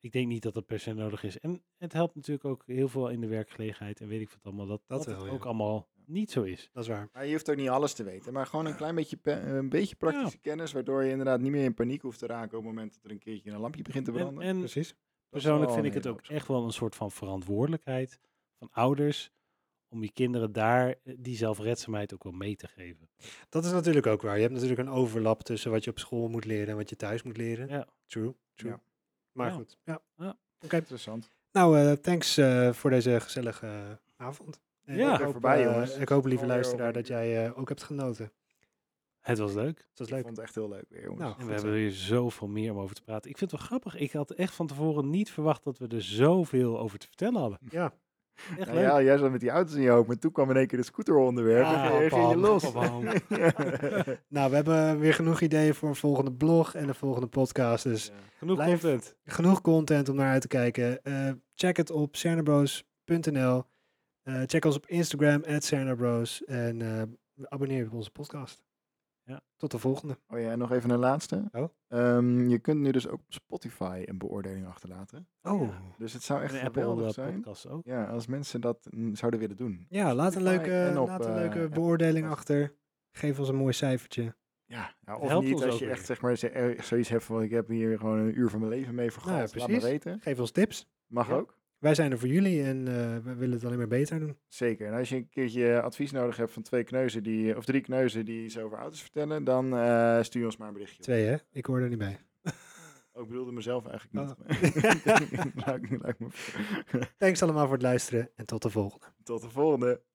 ik denk niet dat dat per se nodig is. En het helpt natuurlijk ook heel veel in de werkgelegenheid en weet ik wat allemaal. Dat dat,
Dat
het
wel, ja.
ook allemaal niet zo is.
Dat is waar.
Maar je hoeft ook niet alles te weten, maar gewoon een klein beetje, pe- een beetje praktische kennis, waardoor je inderdaad niet meer in paniek hoeft te raken op het moment dat er een keertje een lampje begint te
En,
branden.
en
Precies.
Dat is
persoonlijk
wel
vind
een
ik het
hele
ook
hoop.
echt wel een soort van verantwoordelijkheid van ouders om je kinderen daar eh, die zelfredzaamheid ook wel mee te geven.
Dat is natuurlijk ook waar. Je hebt natuurlijk een overlap tussen wat je op school moet leren en wat je thuis moet leren.
Ja.
True, true.
Ja.
Maar
Ja.
goed. Ja.
Ja.
Oké.
Interessant.
Nou, eh, thanks eh, voor deze gezellige eh, avond. En
Ja.
ik
Weer
hoop,
voorbij,
eh,
jongens.
ik hoop, lieve
Alweer
luisteraar,
over
dat
een
jij eh, ook hebt genoten.
Het was leuk.
Dat is
Ik
leuk.
vond het echt heel leuk weer, jongens.
Nou,
En
goed
we
zo.
hebben hier zoveel meer om over te praten. Ik vind het wel grappig. Ik had echt van tevoren niet verwacht dat we er zoveel over te vertellen hadden.
Ja.
Echt
Nou
leuk.
ja, jij zat met die auto's in je hoofd, maar toen kwam in één keer de scooter onderwerp
Ja,
en ging- ging je
bam,
los.
bam.
Nou, we hebben weer genoeg ideeën voor een volgende blog en een volgende podcast. Dus
Ja.
Genoeg
Blijf-
content.
genoeg content om naar uit te kijken. Eh, check het op cernabros.nl. Eh, check ons op Instagram, at cernabros. En eh, abonneer je op onze podcast.
Ja.
Tot de volgende.
Oh ja, en nog even een laatste.
Oh.
Ehm, je kunt nu dus ook op Spotify een beoordeling achterlaten.
Oh.
Oh.
Dus het zou echt
En Apple
geweldig
eh,
zijn.
podcast ook.
Ja, als mensen dat mm, zouden willen doen.
Ja, laat een
Spotify
leuke,
en op,
laat een
eh,
leuke
Apple
beoordeling
Podcast.
achter. Geef ons een mooi cijfertje.
Ja, ja,
Het
of
helpt
niet
ons
als
ook
je echt
weer.
zeg maar ze- eh, zoiets hebt van ik heb hier gewoon een uur van mijn leven mee vergast.
Nou ja,
Laat maar
precies.
weten.
Geef ons tips.
Mag
Ja.
ook.
Wij zijn er voor jullie en eh, we willen het alleen maar beter doen.
Zeker. En als je een keertje advies nodig hebt van twee kneuzen die, of drie kneuzen die iets over auto's vertellen, dan eh, stuur ons maar een berichtje.
Twee, hè? Ik hoor er niet bij.
Oh, ik bedoelde mezelf eigenlijk niet.
Oh.
maar- Laat ik- laat ik me-
Thanks allemaal voor het luisteren en tot de volgende.
Tot de volgende.